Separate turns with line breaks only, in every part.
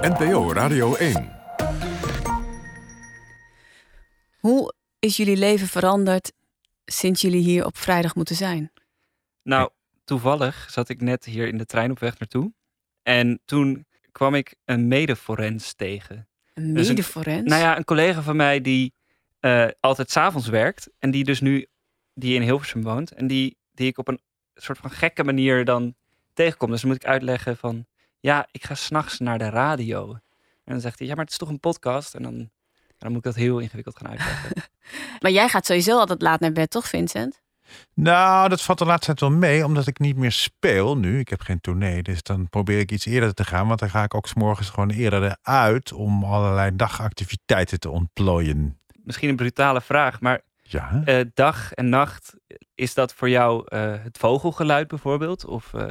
NPO Radio 1.
Hoe is jullie leven veranderd sinds jullie hier op vrijdag moeten zijn?
Nou, toevallig zat ik net hier in de trein op weg naartoe. En toen kwam ik een medeforens tegen.
Een
Dus een-
medeforens?
Nou ja, een collega van mij die eh altijd s'avonds werkt. En die dus nu die in Hilversum woont. En die, die ik op een soort van gekke manier dan tegenkom. Dus dan moet ik uitleggen van... Ja, ik ga s'nachts naar de radio. En dan zegt hij, ja, maar het is toch een podcast? En dan, dan moet ik dat heel ingewikkeld gaan uitleggen.
Maar jij gaat sowieso altijd laat naar bed, toch Vincent?
Nou, dat valt de laatste tijd wel mee, omdat ik niet meer speel nu. Ik heb geen tournee, dus dan probeer ik iets eerder te gaan. Want dan ga ik ook 's morgens gewoon eerder uit om allerlei dagactiviteiten te ontplooien.
Misschien een brutale vraag, maar
Ja,
eh, dag en nacht, is dat voor jou eh, het vogelgeluid bijvoorbeeld? Of, eh,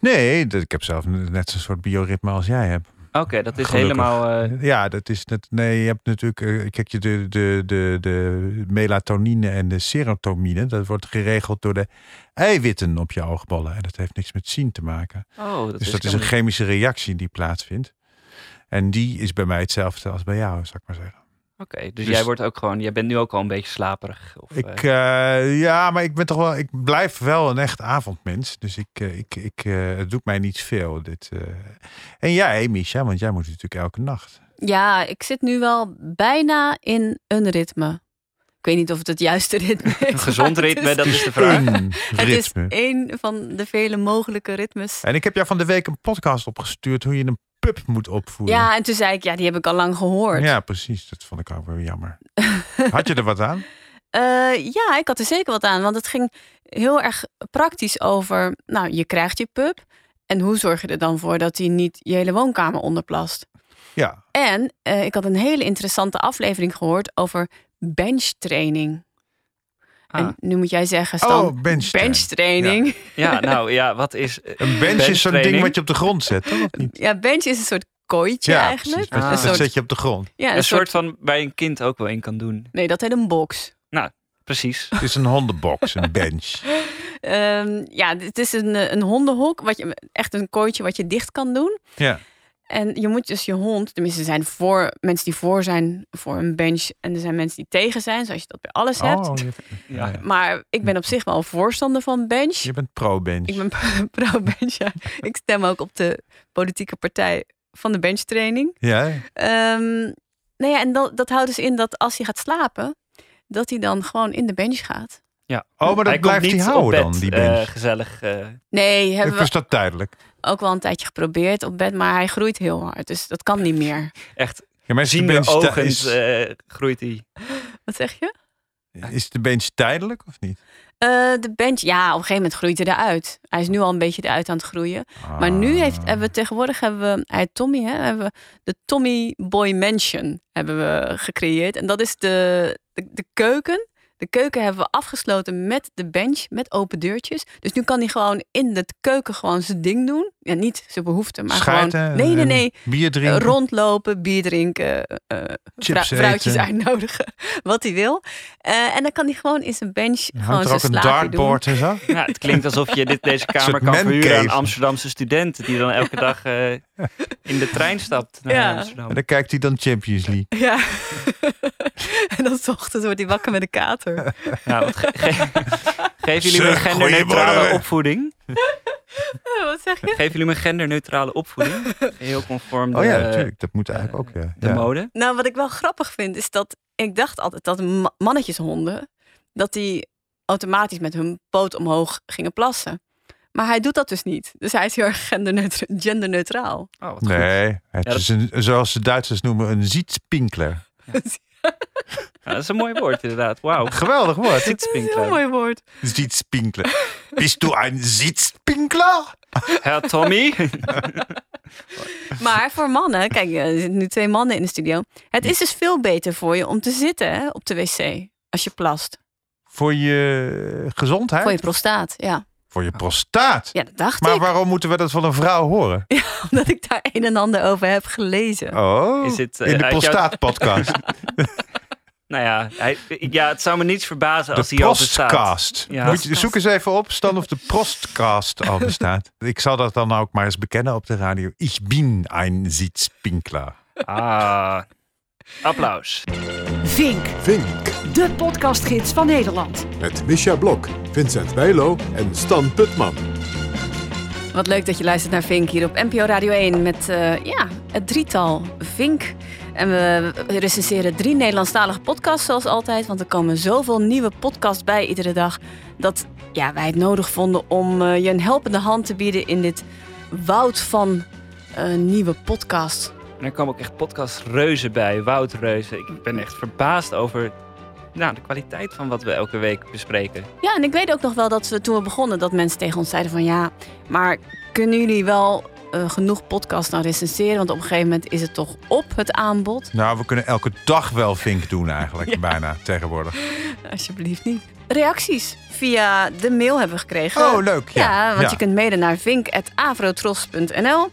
nee, dat- ik heb zelf net zo'n soort bioritme als jij hebt.
Oké, dat is
Gelukkig.
helemaal... eh,
Ja, dat is net. Nee, je hebt natuurlijk. eh, Kijk, je de, de, de, de melatonine en de serotonine. Dat wordt geregeld door de eiwitten op je oogballen. En dat heeft niks met zien te maken.
oh, dat
dus
is,
dat is een chemische reactie die plaatsvindt. En die is bij mij hetzelfde als bij jou, zou ik maar zeggen.
Oké, dus,
Dus-
jij wordt ook gewoon, jij bent nu ook al een beetje slaperig. Of, eh,
Ik, eh, ja, maar ik ben toch wel. Ik blijf wel een echt avondmens. Dus ik, eh, ik, ik, eh, het doet mij niet veel. Dit, eh. En jij, Misha, want jij moet natuurlijk elke nacht.
Ja, ik zit nu wel bijna in een ritme. Ik weet niet of het het juiste ritme is.
een gezond
maar het
ritme,
is-
dat is de vraag.
Een
Het is
ritme.
één van de vele mogelijke ritmes.
En ik heb jou van de week een podcast opgestuurd hoe je een pub moet opvoeren.
Ja, en toen zei ik, ja, die heb ik al lang gehoord.
Ja, precies. Dat vond ik ook wel jammer. Had je er wat aan?
Eh, ja, ik had er zeker wat aan. Want het ging heel erg praktisch over. Nou, je krijgt je pup. En hoe zorg je er dan voor dat hij niet je hele woonkamer onderplast?
Ja.
En eh, ik had een hele interessante aflevering gehoord over benchtraining.
Ah,
En nu moet jij zeggen, Stan,
Oh, benchtrain.
benchtraining.
ja, nou ja, wat is...
Een bench, is zo'n ding wat je op de grond zet, toch? Of niet?
Ja. bench is een soort kooitje eigenlijk.
precies. Dat,
Ah.
dat
Een soort-
zet je op de grond.
Ja,
Een soort van waar je een kind ook wel in kan doen.
Nee, dat heet een box.
Precies.
Het is een hondenbox, een bench.
Ehm, ja, het is een, eh, een hondenhok. Wat je, echt een kooitje wat je dicht kan doen.
Ja.
En je moet dus je hond, tenminste er zijn voor, mensen die voor zijn voor een bench en er zijn mensen die tegen zijn, zoals je dat bij alles hebt.
Oh, je, ja, ja.
Maar ik ben op zich wel een voorstander van bench.
je bent pro-bench.
Ik ben pro-bench. ja. Ik stem ook op de politieke partij van de benchtraining.
Ja,
Ehm nou ja, en dat, dat houdt dus in dat als hij gaat slapen, dat hij dan gewoon in de bench gaat.
Oh, maar dat
Hij komt
blijft hij
niet op
houden
bed,
dan, die
eh,
bench.
gezellig. eh,
Nee, hebben
ik was
we
dat tijdelijk.
ook wel een tijdje geprobeerd op bed, maar hij groeit heel hard. Dus dat kan niet meer.
echt,
Ja, maar is Dus de
zien
bench,
we
ti-
ogen eh,
is,
groeit hij.
Wat zeg je?
eh,
is de bench tijdelijk of niet?
Eh, de bench, ja, op een gegeven moment groeit hij eruit. Hij is nu al een beetje eruit aan het groeien. Maar nu heeft,
Ah.
hebben we tegenwoordig hebben we, hij heet Tommy, hè, hebben we de Tommy Boy Mansion hebben we gecreëerd. En dat is de, de, de keuken. De keuken hebben we afgesloten met de bench, met open deurtjes. Dus nu kan hij gewoon in de keuken gewoon zijn ding doen. Ja, niet zijn behoefte, maar
Schijten,
gewoon... Nee, nee,
en
nee.
Bier drinken,
Rondlopen, bier drinken, eh,
chips
vra- vrouwtjes
eten.
uitnodigen, wat hij wil. Eh, en dan kan hij gewoon in zijn bench gewoon
Hangt er
zijn
ook een
slaapje doen.
dartboard en zo?
Ja, het klinkt alsof je dit, deze kamer
soort
kan verhuren aan
mancave.
Amsterdamse studenten. Die dan elke dag eh, in de trein stapt naar
Ja.
Amsterdam.
En dan kijkt hij dan Champions League.
Ja. en dan 's ochtends wordt hij wakker met een kater.
Nou, wat ge- ge- geven jullie me
Zeg,
genderneutrale
goeiemorgen.
opvoeding?
Eh, Wat zeg je?
Geven jullie me genderneutrale opvoeding? Heel conform de,
Oh
eh,
ja, natuurlijk. Dat moet eigenlijk ook, ja.
de
Ja.
mode.
Nou, wat ik wel grappig vind is dat ik dacht altijd dat ma- mannetjeshonden dat die automatisch met hun poot omhoog gingen plassen. Maar hij doet dat dus niet. Dus hij is heel erg genderneutra- genderneutraal.
Oh, wat goed.
Nee, het
Ja, dat-
is een, zoals de Duitsers noemen, een zietspinkler.
Nou, dat is een mooi woord inderdaad. Wauw.
Geweldig woord.
Dit
Dat is een heel mooi woord.
Zietspinkler. Bist du een zietspinkler?
Herr Tommy.
Maar voor mannen, kijk, eh, er zitten nu twee mannen in de studio. Het is dus veel beter voor je om te zitten hè, op de wc als je plast.
Voor je gezondheid?
Voor je prostaat, ja.
Voor je prostaat.
Ja, dat dacht
Maar
ik,
waarom moeten we dat van een vrouw horen?
omdat ik daar een en ander over heb gelezen.
Oh,
Is het, eh,
in de
uit jouw-
prostaatpodcast.
Nou ja, hij, ik- ja, het zou me niets verbazen als
de
hij al bestaat.
Prostcast.
Ja.
Moet je, zoek eens even op, stan of de Prostcast al bestaat. Ik zal dat dan ook maar eens bekennen op de radio. Ich bin ein Sitzpinkler.
Ah, applaus.
Vink,
Vink.
de podcastgids van Nederland.
Met Misha Blok, Vincent Bijlo en Stan Putman.
Wat leuk dat je luistert naar Vink hier op NPO Radio 1 met eh, ja, het drietal Vink. En we recenseren drie Nederlandstalige podcasts zoals altijd. Want er komen zoveel nieuwe podcasts bij iedere dag. Dat ja, wij het nodig vonden om eh, je een helpende hand te bieden in dit woud van eh, nieuwe podcasts.
En er kwam ook echt podcast Reuzen bij, Wout Reuzen. Ik ben echt verbaasd over nou, de kwaliteit van wat we elke week bespreken.
Ja, en ik weet ook nog wel dat we toen we begonnen, dat mensen tegen ons zeiden van ja, maar kunnen jullie wel eh, genoeg podcasts nou recenseren? Want op een gegeven moment is het toch op het aanbod.
Nou, we kunnen elke dag wel vink doen eigenlijk, bijna tegenwoordig.
Alsjeblieft niet. Reacties via de mail hebben we gekregen.
Oh, leuk.
Ja,
Ja,
want
Ja.
je kunt mailen naar vink.avrotros.nl.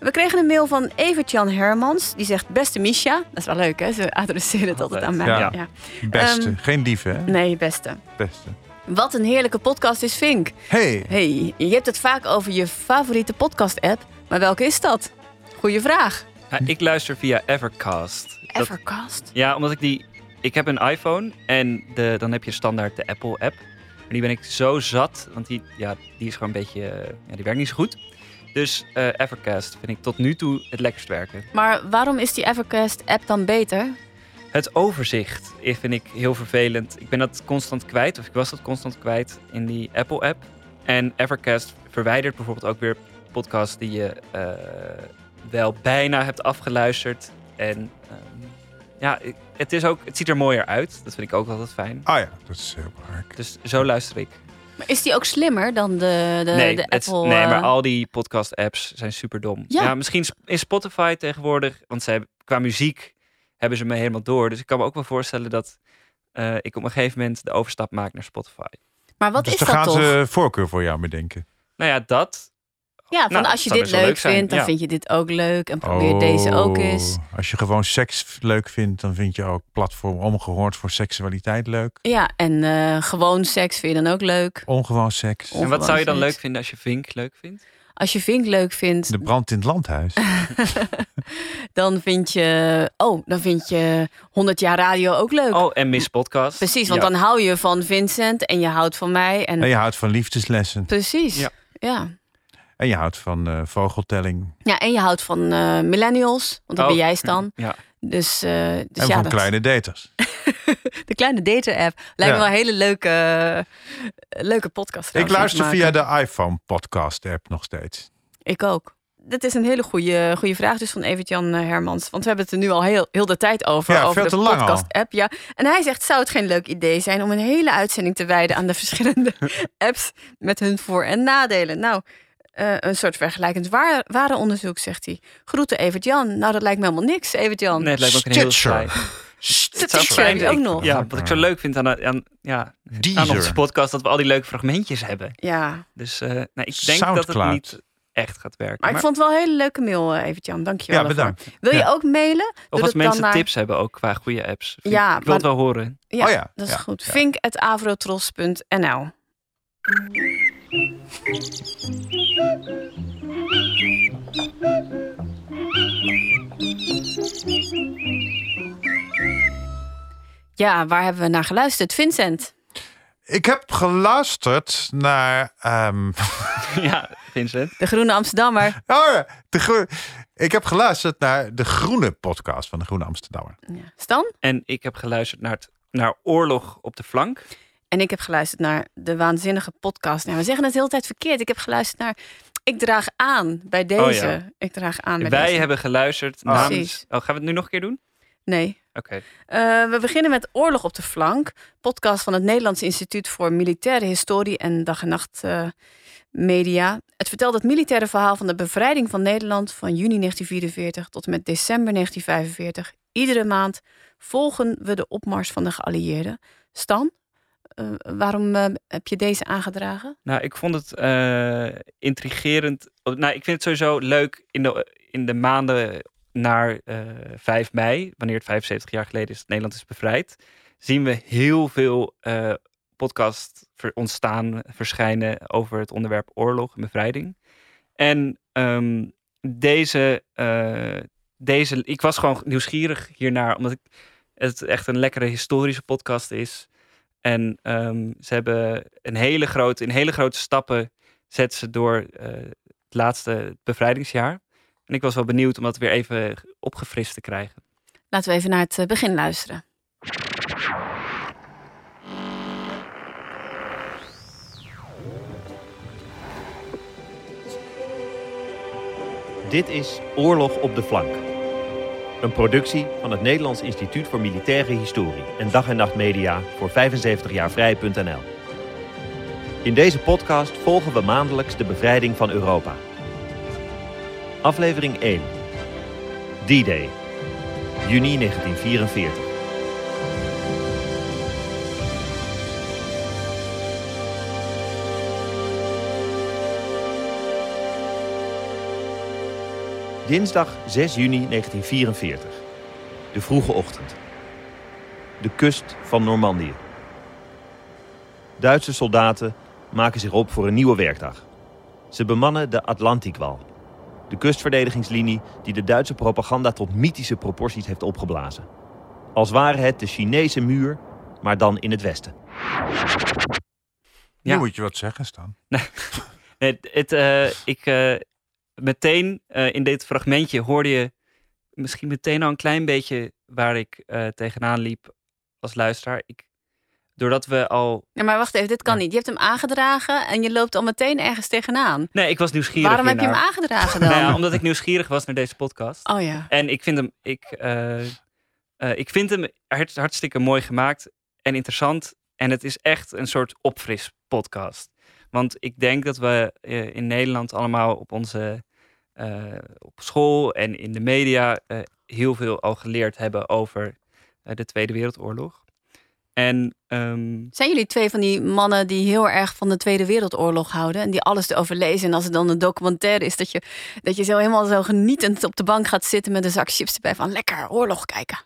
We kregen een mail van Evert-Jan Hermans. Die zegt, beste Misha. Dat is wel leuk, hè? Ze adresseren het altijd aan mij.
Ja.
Ja.
Beste.
Ehm,
Geen dieven, hè?
Nee, beste.
Beste.
Wat een heerlijke podcast is Vink.
Hey.
hey, je hebt het vaak over je favoriete podcast-app. Maar welke is dat? Goeie vraag.
Ja, Ah, ik luister via Evercast. Dat-
Evercast?
ja, omdat ik die... Ik heb een iPhone en de, dan heb je standaard de Apple-app. Maar die ben ik zo zat, want die, ja, die is gewoon een beetje... eh, Ja, die werkt niet zo goed. Dus eh, Evercast vind ik tot nu toe het lekkerst werken.
Maar waarom is die Evercast-app dan beter?
Het overzicht eh, vind ik heel vervelend. Ik ben dat constant kwijt, of ik was dat constant kwijt in die Apple-app. En Evercast verwijdert bijvoorbeeld ook weer podcasts die je eh, wel bijna hebt afgeluisterd. En ehm, ja, ik- het, is ook, het ziet er mooier uit. Dat vind ik ook altijd fijn.
Ah ja, dat is heel belangrijk.
Dus zo luister ik.
Maar is die ook slimmer dan de, de,
nee,
de
het-
Apple...
nee, maar
eh,
al die podcast-apps zijn super dom.
Ja.
Ja. misschien sp- is Spotify tegenwoordig, want ze hebben, qua muziek hebben ze me helemaal door. Dus ik kan me ook wel voorstellen dat eh, ik op een gegeven moment de overstap maak naar Spotify.
Maar wat
dus
is
daar
dat
gaan
toch?
ze voorkeur voor jou bedenken.
Nou ja, dat.
Ja, van
Nou,
als je
zou
dit
best wel
leuk
leuk zijn,
vindt, dan
ja.
vind je dit ook leuk. En probeer deze ook eens.
Oh, Als je gewoon seks leuk vindt, dan vind je ook platform ongehoord voor seksualiteit leuk.
Ja, en eh, gewoon seks vind je dan ook leuk.
Ongewoon seks.
Of-
En wat zou je dan
Ongewoon
leuk
iets.
vinden als je Vink leuk vindt?
Als je Vink leuk vindt,
De brand in het landhuis.
dan vind je... Oh, dan vind je 100 jaar radio ook leuk.
Oh, en Miss Podcast.
Precies, want
Ja.
dan hou je van Vincent en je houdt van mij. En
En je houdt van liefdeslessen.
Precies, ja.
Ja.
ja.
En je houdt van eh, vogeltelling.
en je houdt van eh, millennials, want dat
Oh.
ben jij Stan.
Ja.
Dus, eh, dus ja,
en van
dat-
kleine daters.
de kleine dater-app lijkt me
Ja.
wel een hele leuke, leuke podcast.
Ik
trouwens, om te
luister
maken.
via de iPhone podcast app nog steeds.
Ik ook. Dit is een hele goede, goede vraag dus van Evert-Jan eh, Hermans. Want we hebben het er nu al heel, heel de tijd over.
Ja,
over
veel
de
te lang al.
podcast-app. Ja. En hij zegt, zou het geen leuk idee zijn... om een hele uitzending te wijden aan de verschillende apps... met hun voor- en nadelen? Nou, eh, een soort vergelijkend waar, ware onderzoek, zegt hij. Groeten Evert-Jan. Nou, dat lijkt me helemaal niks, Evert-Jan.
Nee, het lijkt me ook een heel saai.
dat
zou
is er
fijn-
ook nog.
Ja, wat ik zo leuk vind aan, aan, ja, aan onze
Deezer.
podcast, dat we al die leuke fragmentjes hebben.
Ja,
Dus eh, nou, ik denk dat
Soundcloud.
het niet echt gaat werken.
maar ik
Maar-
vond het wel een hele leuke mail, eh, Evert-Jan. Dank je wel.
Ja,
daarvoor.
bedankt.
Wil je
Ja.
ook mailen?
of
dat
als
dan
mensen
naar-
tips hebben ook qua goede apps. Vind ik-
Ja,
ik wil het
maar-
wel horen.
Ja,
Oh ja,
dat is
ja,
goed.
ja.
Vink.avrotros.nl Ja, waar hebben we naar geluisterd? Vincent.
Ik heb geluisterd naar... ehm,
ja, Vincent.
De Groene Amsterdammer.
oh ja, de groe- ik heb geluisterd naar de Groene podcast van de Groene Amsterdammer.
Ja. Stan.
En ik heb geluisterd naar, het, naar Oorlog op de Flank.
En ik heb geluisterd naar de waanzinnige podcast. Nou, we zeggen het de hele tijd verkeerd. Ik heb geluisterd naar Ik draag aan
Oh
bij deze.
ja.
Ik draag aan bij
Wij
deze.
hebben geluisterd
Ah.
namens...
Precies.
Oh, gaan we het nu nog een keer doen?
Nee.
Oké.
Eh, we beginnen met Oorlog op de Flank. Podcast van het Nederlands Instituut voor Militaire Historie en Dag en Nacht eh, Media. Het vertelt het militaire verhaal van de bevrijding van Nederland van juni 1944 tot en met december 1945. Iedere maand volgen we de opmars van de geallieerden. Stan, eh, waarom eh, heb je deze aangedragen?
Nou, ik vond het eh, intrigerend. Oh, Nou, ik vind het sowieso leuk in de, in de maanden naar eh 5 mei, wanneer het 75 jaar geleden is dat Nederland is bevrijd. zien we heel veel eh podcasts ver- ontstaan, verschijnen over het onderwerp oorlog en bevrijding. En ehm, deze, eh, deze, ik was gewoon nieuwsgierig hiernaar, omdat ik, het echt een lekkere historische podcast is. En ehm, ze hebben een hele grote, in hele grote stappen zetten ze door eh, het laatste bevrijdingsjaar. En ik was wel benieuwd om dat weer even opgefrist te krijgen.
Laten we even naar het eh, begin luisteren.
Dit is Oorlog op de Flank. Een productie van het Nederlands Instituut voor Militaire Historie en Dag en Nacht Media voor 75jaarvrij.nl. In deze podcast volgen we maandelijks de bevrijding van Europa. Aflevering 1. D-Day. Juni 1944. Dinsdag 6 juni 1944. De vroege ochtend. De kust van Normandië. Duitse soldaten maken zich op voor een nieuwe werkdag. Ze bemannen de Atlantiekwal. De kustverdedigingslinie die de Duitse propaganda tot mythische proporties heeft opgeblazen. Als ware het de Chinese muur, maar dan in het westen.
Ja.
Nu moet je wat zeggen, Stan.
Nee, het, eh, ik, eh, meteen eh, in dit fragmentje hoorde je misschien meteen al een klein beetje waar ik eh, tegenaan liep als luisteraar. Ik, doordat we al.
Ja, maar wacht even, dit kan
Ja.
niet. Je hebt hem aangedragen en je loopt al meteen ergens tegenaan.
Nee, ik was nieuwsgierig.
Waarom heb je hem
hiernaar.
aangedragen dan?
Nou ja, omdat ik nieuwsgierig was naar deze podcast.
Oh ja.
En ik vind hem, ik, eh, eh, ik vind hem hart- hartstikke mooi gemaakt en interessant. En het is echt een soort opfris podcast. Want ik denk dat we eh, in Nederland allemaal op onze eh, op school en in de media eh, heel veel al geleerd hebben over eh, de Tweede Wereldoorlog. En ehm,
Zijn jullie twee van die mannen die heel erg van de Tweede Wereldoorlog houden en die alles erover lezen? En als het dan een documentaire is, dat je, dat je zo helemaal zo genietend op de bank gaat zitten met een zak chips erbij van lekker oorlog kijken.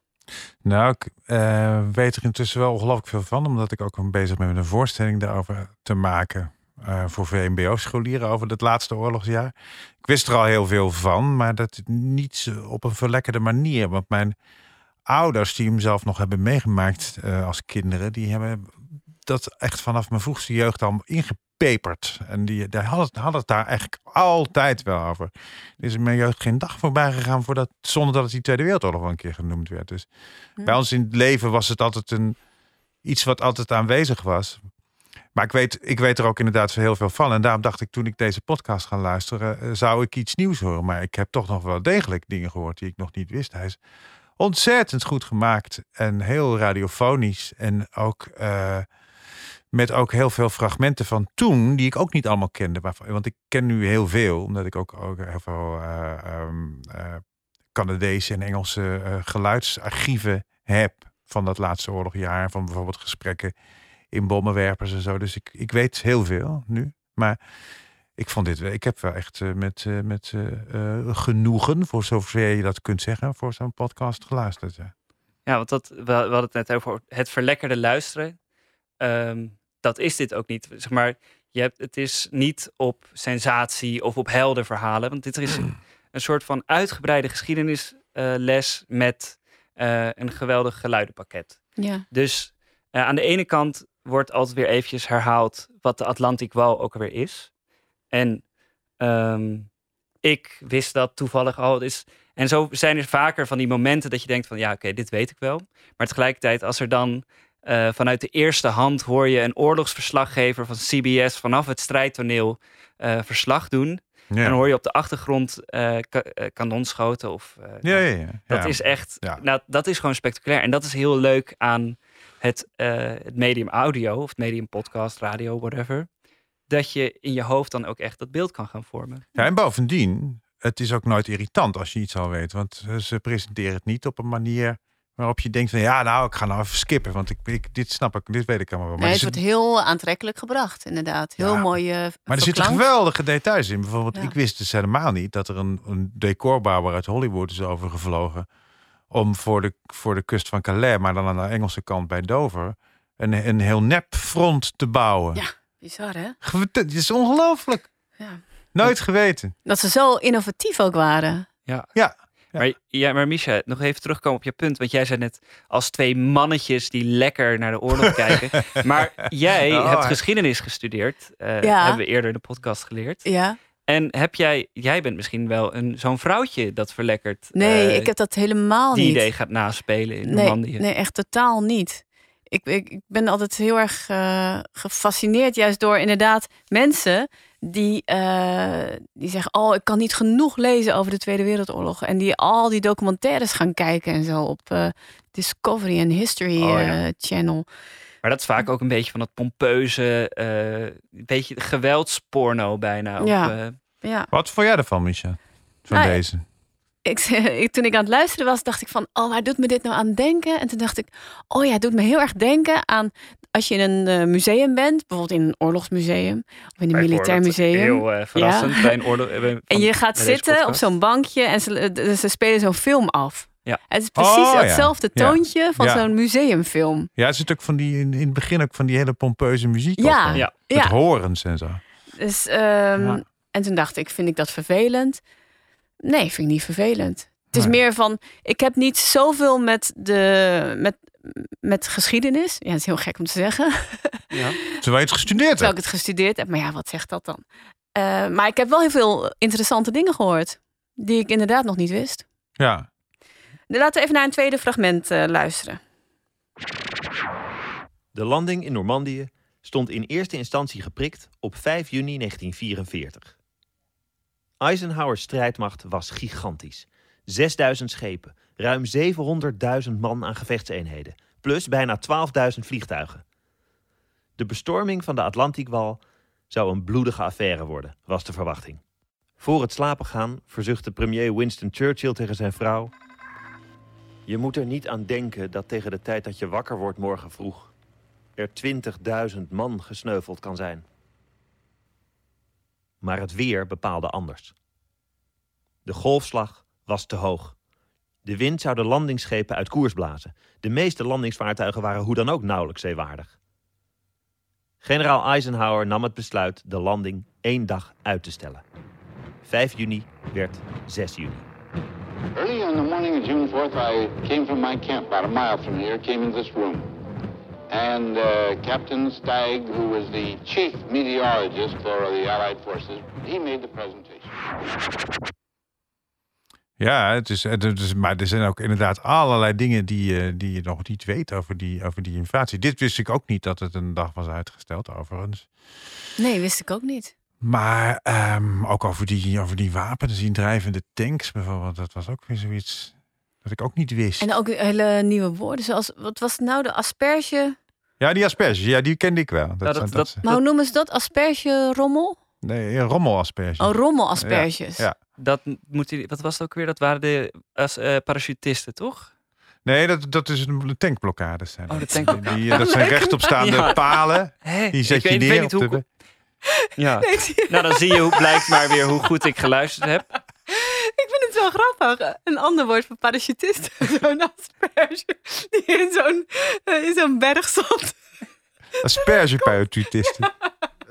Nou, ik eh, weet er intussen wel ongelooflijk veel van, omdat ik ook bezig ben met een voorstelling daarover te maken. eh, voor VMBO-scholieren over het laatste oorlogsjaar. Ik wist er al heel veel van, maar dat niet zo- op een verlekkerde manier. Want mijn ouders, die hem zelf nog hebben meegemaakt eh, als kinderen, die hebben dat echt vanaf mijn vroegste jeugd al ingepeperd. En die, die hadden, het- hadden het daar eigenlijk altijd wel over. Er is in mijn jeugd geen dag voorbij gegaan voordat, zonder dat het die Tweede Wereldoorlog wel een keer genoemd werd. Dus
Hm.
bij ons in het leven was het altijd een, iets wat altijd aanwezig was. Maar ik weet, ik weet er ook inderdaad heel veel van. En daarom dacht ik toen ik deze podcast ga luisteren, eh, zou ik iets nieuws horen. Maar ik heb toch nog wel degelijk dingen gehoord die ik nog niet wist. Hij is ontzettend goed gemaakt en heel radiofonisch. En ook eh, met ook heel veel fragmenten van toen, die ik ook niet allemaal kende. Waarvan- Want ik ken nu heel veel, omdat ik ook, ook heel veel eh, ehm, eh, Canadese en Engelse eh, geluidsarchieven heb van dat laatste oorlogjaar. Van bijvoorbeeld gesprekken in bommenwerpers en zo. Dus ik, ik weet heel veel nu. Maar ik vond dit wel. Ik heb wel echt eh, met, eh, met eh, eh, genoegen, voor zover je dat kunt zeggen, voor zo'n podcast geluisterd. Ja.
Ja, want dat, we, we hadden het net over het verlekkerde luisteren. Ehm, dat is dit ook niet. Zeg maar, je hebt, het is niet op sensatie of op helder verhalen. Want dit is een, een soort van uitgebreide geschiedenisles met eh, een geweldig geluidenpakket.
Ja.
Dus eh, aan de ene kant wordt altijd weer eventjes herhaald wat de Atlantikwal ook alweer is. En ehm, ik wist dat toevallig al. Dus, en zo zijn er vaker van die momenten dat je denkt van ja, oké, dit weet ik wel. Maar tegelijkertijd als er dan eh, vanuit de eerste hand hoor je een oorlogsverslaggever van CBS vanaf het strijdtoneel eh, verslag doen. En dan hoor je op de achtergrond eh, ka- eh, kanonschoten of eh,
Ja, ja, ja.
dat
Ja.
is echt,
Ja.
nou, dat is gewoon spectaculair. En dat is heel leuk aan het, eh, het medium audio, of het medium podcast, radio, whatever. Dat je in je hoofd dan ook echt dat beeld kan gaan vormen.
Ja, en bovendien, het is ook nooit irritant als je iets al weet. Want eh, ze presenteren het niet op een manier waarop je denkt van ja, nou, ik ga nou even skippen. Want ik, ik, dit snap ik, dit weet ik allemaal wel. Maar
Nee,
er
het
zit-
wordt heel aantrekkelijk gebracht, inderdaad. Heel
Ja.
mooi. eh,
Maar er zitten
verklankt.
geweldige details in. Bijvoorbeeld,
Ja.
ik wist dus helemaal niet dat er een, een decorbouwer uit Hollywood is overgevlogen om voor de, voor de kust van Calais, maar dan aan de Engelse kant bij Dover, een, een heel nep front te bouwen.
Ja. Bizar, hè?
Ge- Het is ongelooflijk.
Ja.
Nooit geweten.
Dat ze zo innovatief ook waren.
Maar, ja, maar Misha, nog even terugkomen op je punt. Want jij zei net als twee mannetjes die lekker naar de oorlog kijken. Maar jij
Oh,
hebt
hij-
geschiedenis gestudeerd. eh,
Ja.
Hebben we eerder in de podcast geleerd.
Ja.
En heb jij, jij bent misschien wel een, zo'n vrouwtje dat verlekkerd
Nee,
eh,
ik heb dat helemaal
die
niet.
idee gaat naspelen in
nee,
Normandië.
nee, echt totaal niet. Ik, ik, ik ben altijd heel erg eh, gefascineerd juist door inderdaad mensen die, eh, die zeggen... oh, ik kan niet genoeg lezen over de Tweede Wereldoorlog. En die al die documentaires gaan kijken en zo op eh, Discovery en History
Oh, ja.
eh, Channel.
Maar dat is vaak ook een beetje van dat pompeuze, eh, een beetje geweldsporno bijna. Of,
Ja.
eh,
Ja.
Wat vond jij ervan, Micha? Van
Nou,
deze.
ik, ik- toen ik aan het luisteren was, dacht ik van, oh, waar doet me dit nou aan denken? En toen dacht ik, oh ja, het doet me heel erg denken aan als je in een eh, museum bent, bijvoorbeeld in een oorlogsmuseum of in een militair
Bijvoorbeeld,
museum.
Heel eh, verrassend bij een oorlog. eh, bij-
En
van-
je gaat
bij deze
zitten op
podcast.
zo'n bankje en ze, eh, ze spelen zo'n film af.
Ja.
Het is precies
Oh, ja.
hetzelfde
Ja.
toontje van
Ja.
zo'n museumfilm.
Ja, er zit ook van die, in, in het begin ook van die hele pompeuze muziek.
Ja.
op, hè?
Ja.
Met
Ja.
horens en zo.
Dus, ehm,
Ja.
En toen dacht ik, vind ik dat vervelend? Nee, vind ik niet vervelend. Het is
Nee.
meer van, ik heb niet zoveel met, de, met, met geschiedenis. Ja, dat is heel gek om te zeggen.
Ja.
Terwijl je het gestudeerd
Terwijl
hebt.
ik het gestudeerd heb. Maar ja, wat zegt dat dan? Eh, maar ik heb wel heel veel interessante dingen gehoord. Die ik inderdaad nog niet wist.
Ja.
Laten we even naar een tweede fragment eh, luisteren.
De landing in Normandië stond in eerste instantie geprikt op 5 juni 1944. Eisenhower's strijdmacht was gigantisch. 6000 schepen, ruim 700.000 man aan gevechtseenheden, plus bijna 12.000 vliegtuigen. De bestorming van de Atlantiekwal zou een bloedige affaire worden, was de verwachting. Voor het slapen gaan verzuchtte premier Winston Churchill tegen zijn vrouw: Je moet er niet aan denken dat tegen de tijd dat je wakker wordt morgen vroeg er 20.000 man gesneuveld kan zijn. Maar het weer bepaalde anders. De golfslag was te hoog. De wind zou de landingsschepen uit koers blazen. De meeste landingsvaartuigen waren hoe dan ook nauwelijks zeewaardig. Generaal Eisenhower nam het besluit de landing één dag uit te stellen. 5 juni werd 6 juni.
Early on the morning of June 4th, I came from my camp about a mile from here, came into this room. And uh, Captain Steig, who was the chief meteorologist for the Allied forces, he made the presentation.
Ja, het is, het is, maar er zijn ook inderdaad allerlei dingen die, je- die je nog niet weet over die, over die inflatie. Dit wist ik ook niet dat het een dag was uitgesteld, overigens.
Nee, wist ik ook niet.
Maar ehm, ook over die, over die wapens, die drijvende tanks bijvoorbeeld. Dat was ook weer zoiets dat ik ook niet wist.
En ook hele nieuwe woorden. Zoals, wat was het nou? De asperge.
Ja, die asperges, ja, die kende ik wel. Dat,
dat-
zijn- dat,
dat-
zijn-
Maar hoe noemen ze dat? Asperge rommel?
nee, rommelasperges.
Oh, rommel asperges.
Ja, ja.
Dat m- moet je, wat was het ook weer? Dat waren de als, eh, parachutisten, toch?
Nee, dat, dat is een tankblokkades. Zijn
Oh,
dat.
de tankblokkade.
Die, eh, dat zijn rechtopstaande
Ja.
palen.
Hè?
Die zet
ik
je
weet,
neer
weet niet
op
hoe.
de-
Ja. Nou, dan zie je hoe, blijkt maar weer hoe goed ik geluisterd heb.
Ik vind het zo grappig. Een ander woord voor parachutist. Zo'n asperge die in zo'n, eh, in zo'n berg zat.
aspergeparachutisten.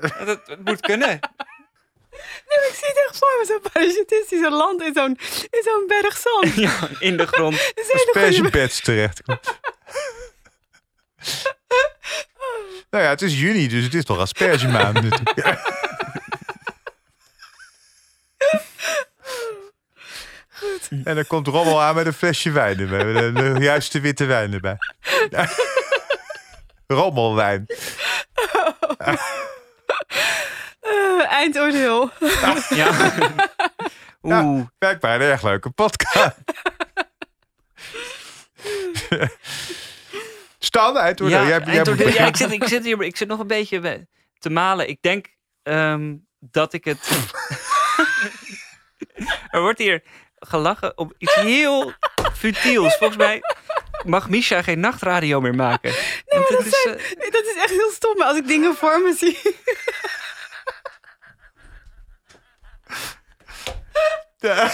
Dat, dat moet kunnen.
Nee, maar ik zie het echt voor me. Zo'n parachutist die zo landt in zo'n, in zo'n berg zand.
Ja, in de grond.
Dat is een hele goede-
Aspergebeds terecht. nou ja, het is juni, dus het is toch aspergemaand natuurlijk. En dan komt Rommel aan met een flesje wijn erbij. Met een- de juiste witte wijn erbij. Rommelwijn.
Eh, eindoordeel.
Ja. Oeh.
Blijkbaar een erg leuke podcast. Stan, eindoordeel. jij, jij
eindoordeel.
moet
Ja, ik, zit, ik, zit hier, ik zit nog een beetje bij- te malen. Ik denk ehm, dat ik het. er wordt hier gelachen op iets heel futiels. Volgens mij mag Misha geen nachtradio meer maken. Nee,
dat
eh,
zijn- Nee, dat is echt heel stom. Maar als ik dingen voor me zie.
begin-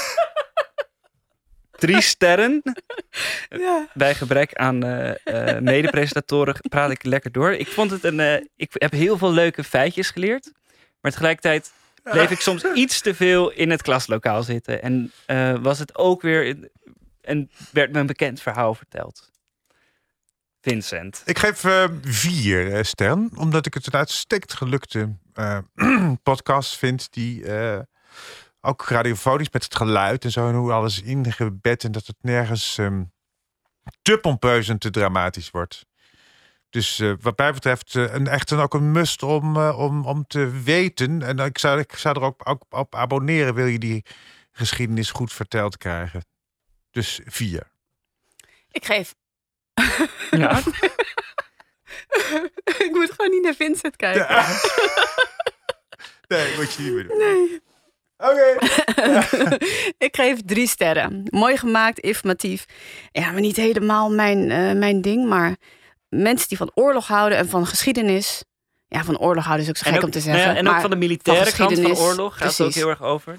drie sterren
Ja.
bij gebrek aan eh, eh, medepresentatoren praat ik lekker door. Ik vond het een. eh, ik heb heel veel leuke feitjes geleerd. Maar tegelijkertijd bleef ik soms iets te veel in het klaslokaal zitten. En eh, was het ook weer. een- en werd me een bekend verhaal verteld. Vincent.
Ik geef eh, vier eh, sterren, omdat ik het een uitstekend gelukte eh, podcast vind die eh, ook radiofonisch met het geluid en zo en hoe alles ingebed en dat het nergens ehm, te pompeus en te dramatisch wordt. Dus eh, wat mij betreft eh, een, echt een, ook een must om, eh, om, om te weten. En ik zou, ik zou er ook, ook op abonneren, wil je die geschiedenis goed verteld krijgen. Dus vier.
Ik geef.
Ja.
ik moet gewoon niet naar Vincent kijken.
nee, moet je niet meer doen.
Nee.
Oké.
ik geef drie sterren. Mooi gemaakt, informatief. Ja, maar niet helemaal mijn, eh, mijn ding. Maar mensen die van oorlog houden en van geschiedenis. Ja, van oorlog houden is ook zo gek
ook,
om te
nou
zeggen.
ja, en
maar
ook van de militaire kant van de
geschiedenis,
oorlog gaat het ook
precies.
heel erg over.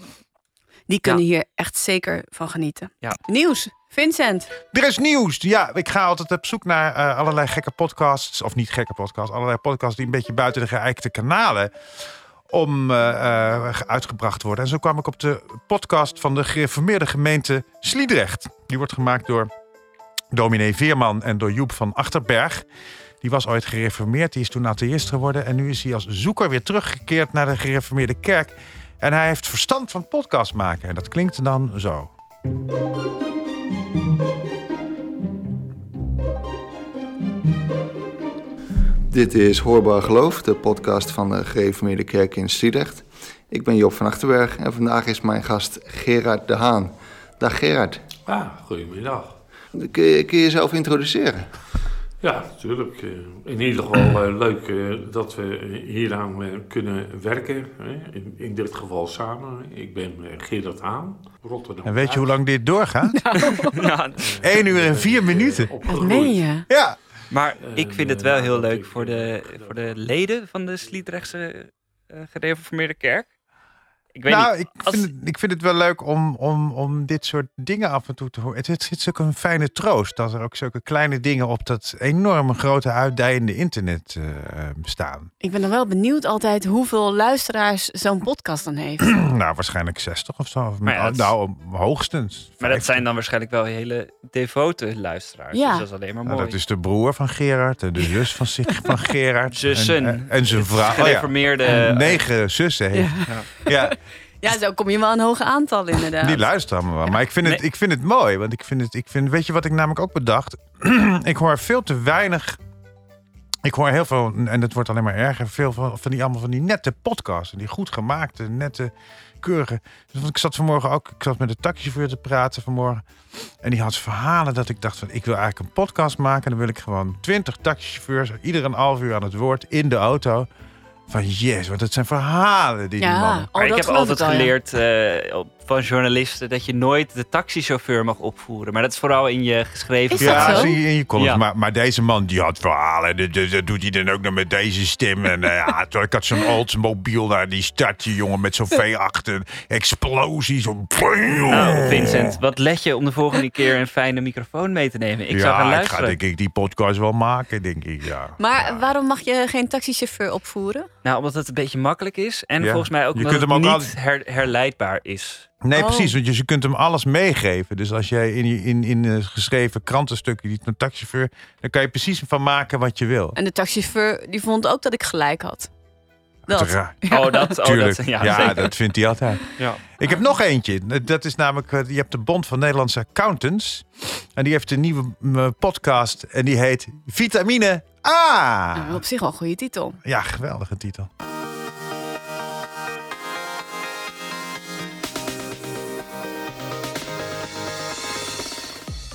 die kunnen hier echt zeker van genieten.
Ja.
Nieuws, Vincent.
Er is nieuws. Ja, ik ga altijd op zoek naar eh, allerlei gekke podcasts. Of niet gekke podcasts. Allerlei podcasts die een beetje buiten de geëikte kanalen om eh, eh, ge- uitgebracht worden. En zo kwam ik op de podcast van de gereformeerde gemeente Sliedrecht. Die wordt gemaakt door dominee Veerman en door Joep van Achterberg. Die was ooit gereformeerd, die is toen atheïst geworden... en nu is hij als zoeker weer teruggekeerd naar de gereformeerde kerk. En hij heeft verstand van podcast maken. En dat klinkt dan zo.
Dit is Hoorbaar Geloof, de podcast van de Gereformeerde Kerk in Sliedrecht. Ik ben Job van Achterberg en vandaag is mijn gast Gerard de Haan. Dag Gerard,
Ah, goedemiddag.
kun je, kun je jezelf introduceren?
Ja, natuurlijk. eh, In ieder geval eh, leuk eh, dat we eh, hieraan eh, kunnen werken. Hè? In, in dit geval samen. Ik ben eh, Gerard Haan, Rotterdam.
En weet je hoe lang dit doorgaat?
Ja,
1 uur en 4
eh,
minuten.
Wat meen je?
Ja.
Maar ik vind het wel
ja,
heel
dat
leuk
ik,
voor
eh,
de,
dat-
voor de leden van de Sliedrechtse eh, gereformeerde kerk. Ik weet
Nou,
niet.
ik
Als-
vind, het, ik vind het wel leuk om, om, om dit soort dingen af en toe te horen. Het, het is ook een fijne troost dat er ook zulke kleine dingen op dat enorme grote uitdijende internet eh, eh, staan.
Ik ben dan wel benieuwd altijd hoeveel luisteraars zo'n podcast dan heeft.
nou, waarschijnlijk 60 of zo. Of
Maar ja, dat is-
nou, hoogstens.
Maar dat
50.
zijn dan waarschijnlijk wel hele devote luisteraars.
Ja.
Dus dat is alleen maar mooi.
Nou, dat is de broer van Gerard en de zus van, zich- van Gerard.
Zussen.
En, en zijn vrouw. Oh ja.
Gereformeerde...
Negen zussen heeft. ja.
Ja, zo kom je wel een hoge aantal inderdaad.
Die luisteren allemaal wel. Maar ik vind, het,
Nee.
ik vind het mooi. Want ik vind het, ik vind, weet je wat ik namelijk ook bedacht? ik hoor veel te weinig. Ik hoor heel veel, en het wordt alleen maar erger, veel van, van die allemaal van die nette podcasts. En die goed gemaakte, nette, keurige. Dus want ik zat vanmorgen ook, ik zat met de taxichauffeur te praten vanmorgen. En die had verhalen dat ik dacht van, ik wil eigenlijk een podcast maken. En dan wil ik gewoon twintig taxichauffeurs, ieder een half uur aan het woord, in de auto. Van yes, want het zijn verhalen die die
ja,
mannen...
oh,
Maar ik
dat
heb
geloof
altijd
ik wel, ja.
geleerd eh, op- van journalisten dat je nooit de taxichauffeur mag opvoeren. Maar dat is vooral in je geschreven
Is dat
verhaal.
zo?
zie je in je columns.
Ja.
Maar, maar deze man die had verhalen. Dat, dat- dat doet hij dan ook nog met deze stem. En eh, ja, toen- ik had zo'n Oldsmobile naar die stad, die jongen, met zo'n V8. en Explosie. Zo...
Nou, Vincent, wat let je om de volgende keer een fijne microfoon mee te nemen? Ik
ja,
zou gaan
ik ga
luisteren.
denk ik die podcast wel maken, denk ik. Ja.
Maar
Ja.
waarom mag je geen taxichauffeur opvoeren?
Nou, omdat het een beetje makkelijk is. En
Ja.
volgens mij ook
Je
omdat
kunt
het
hem
niet
ook
her- herleidbaar is.
Nee,
Oh.
precies. Want je, je kunt hem alles meegeven. Dus als jij in, je- in, in eh, geschreven krantenstukken die een taxichauffeur... dan kan je precies van maken wat je wil.
En de taxichauffeur die vond ook dat ik gelijk had. Dat.
Uiteraard.
Oh, dat, oh,
Tuurlijk.
dat,
ja,
ja, zeker.
dat vindt hij altijd.
Ja.
Ik heb nog eentje. Dat is namelijk, eh, je hebt de Bond van Nederlandse Accountants. En die heeft een nieuwe mm, podcast en die heet Vitamine
Nou,
A.
op zich al een goede titel.
Ja, geweldige titel.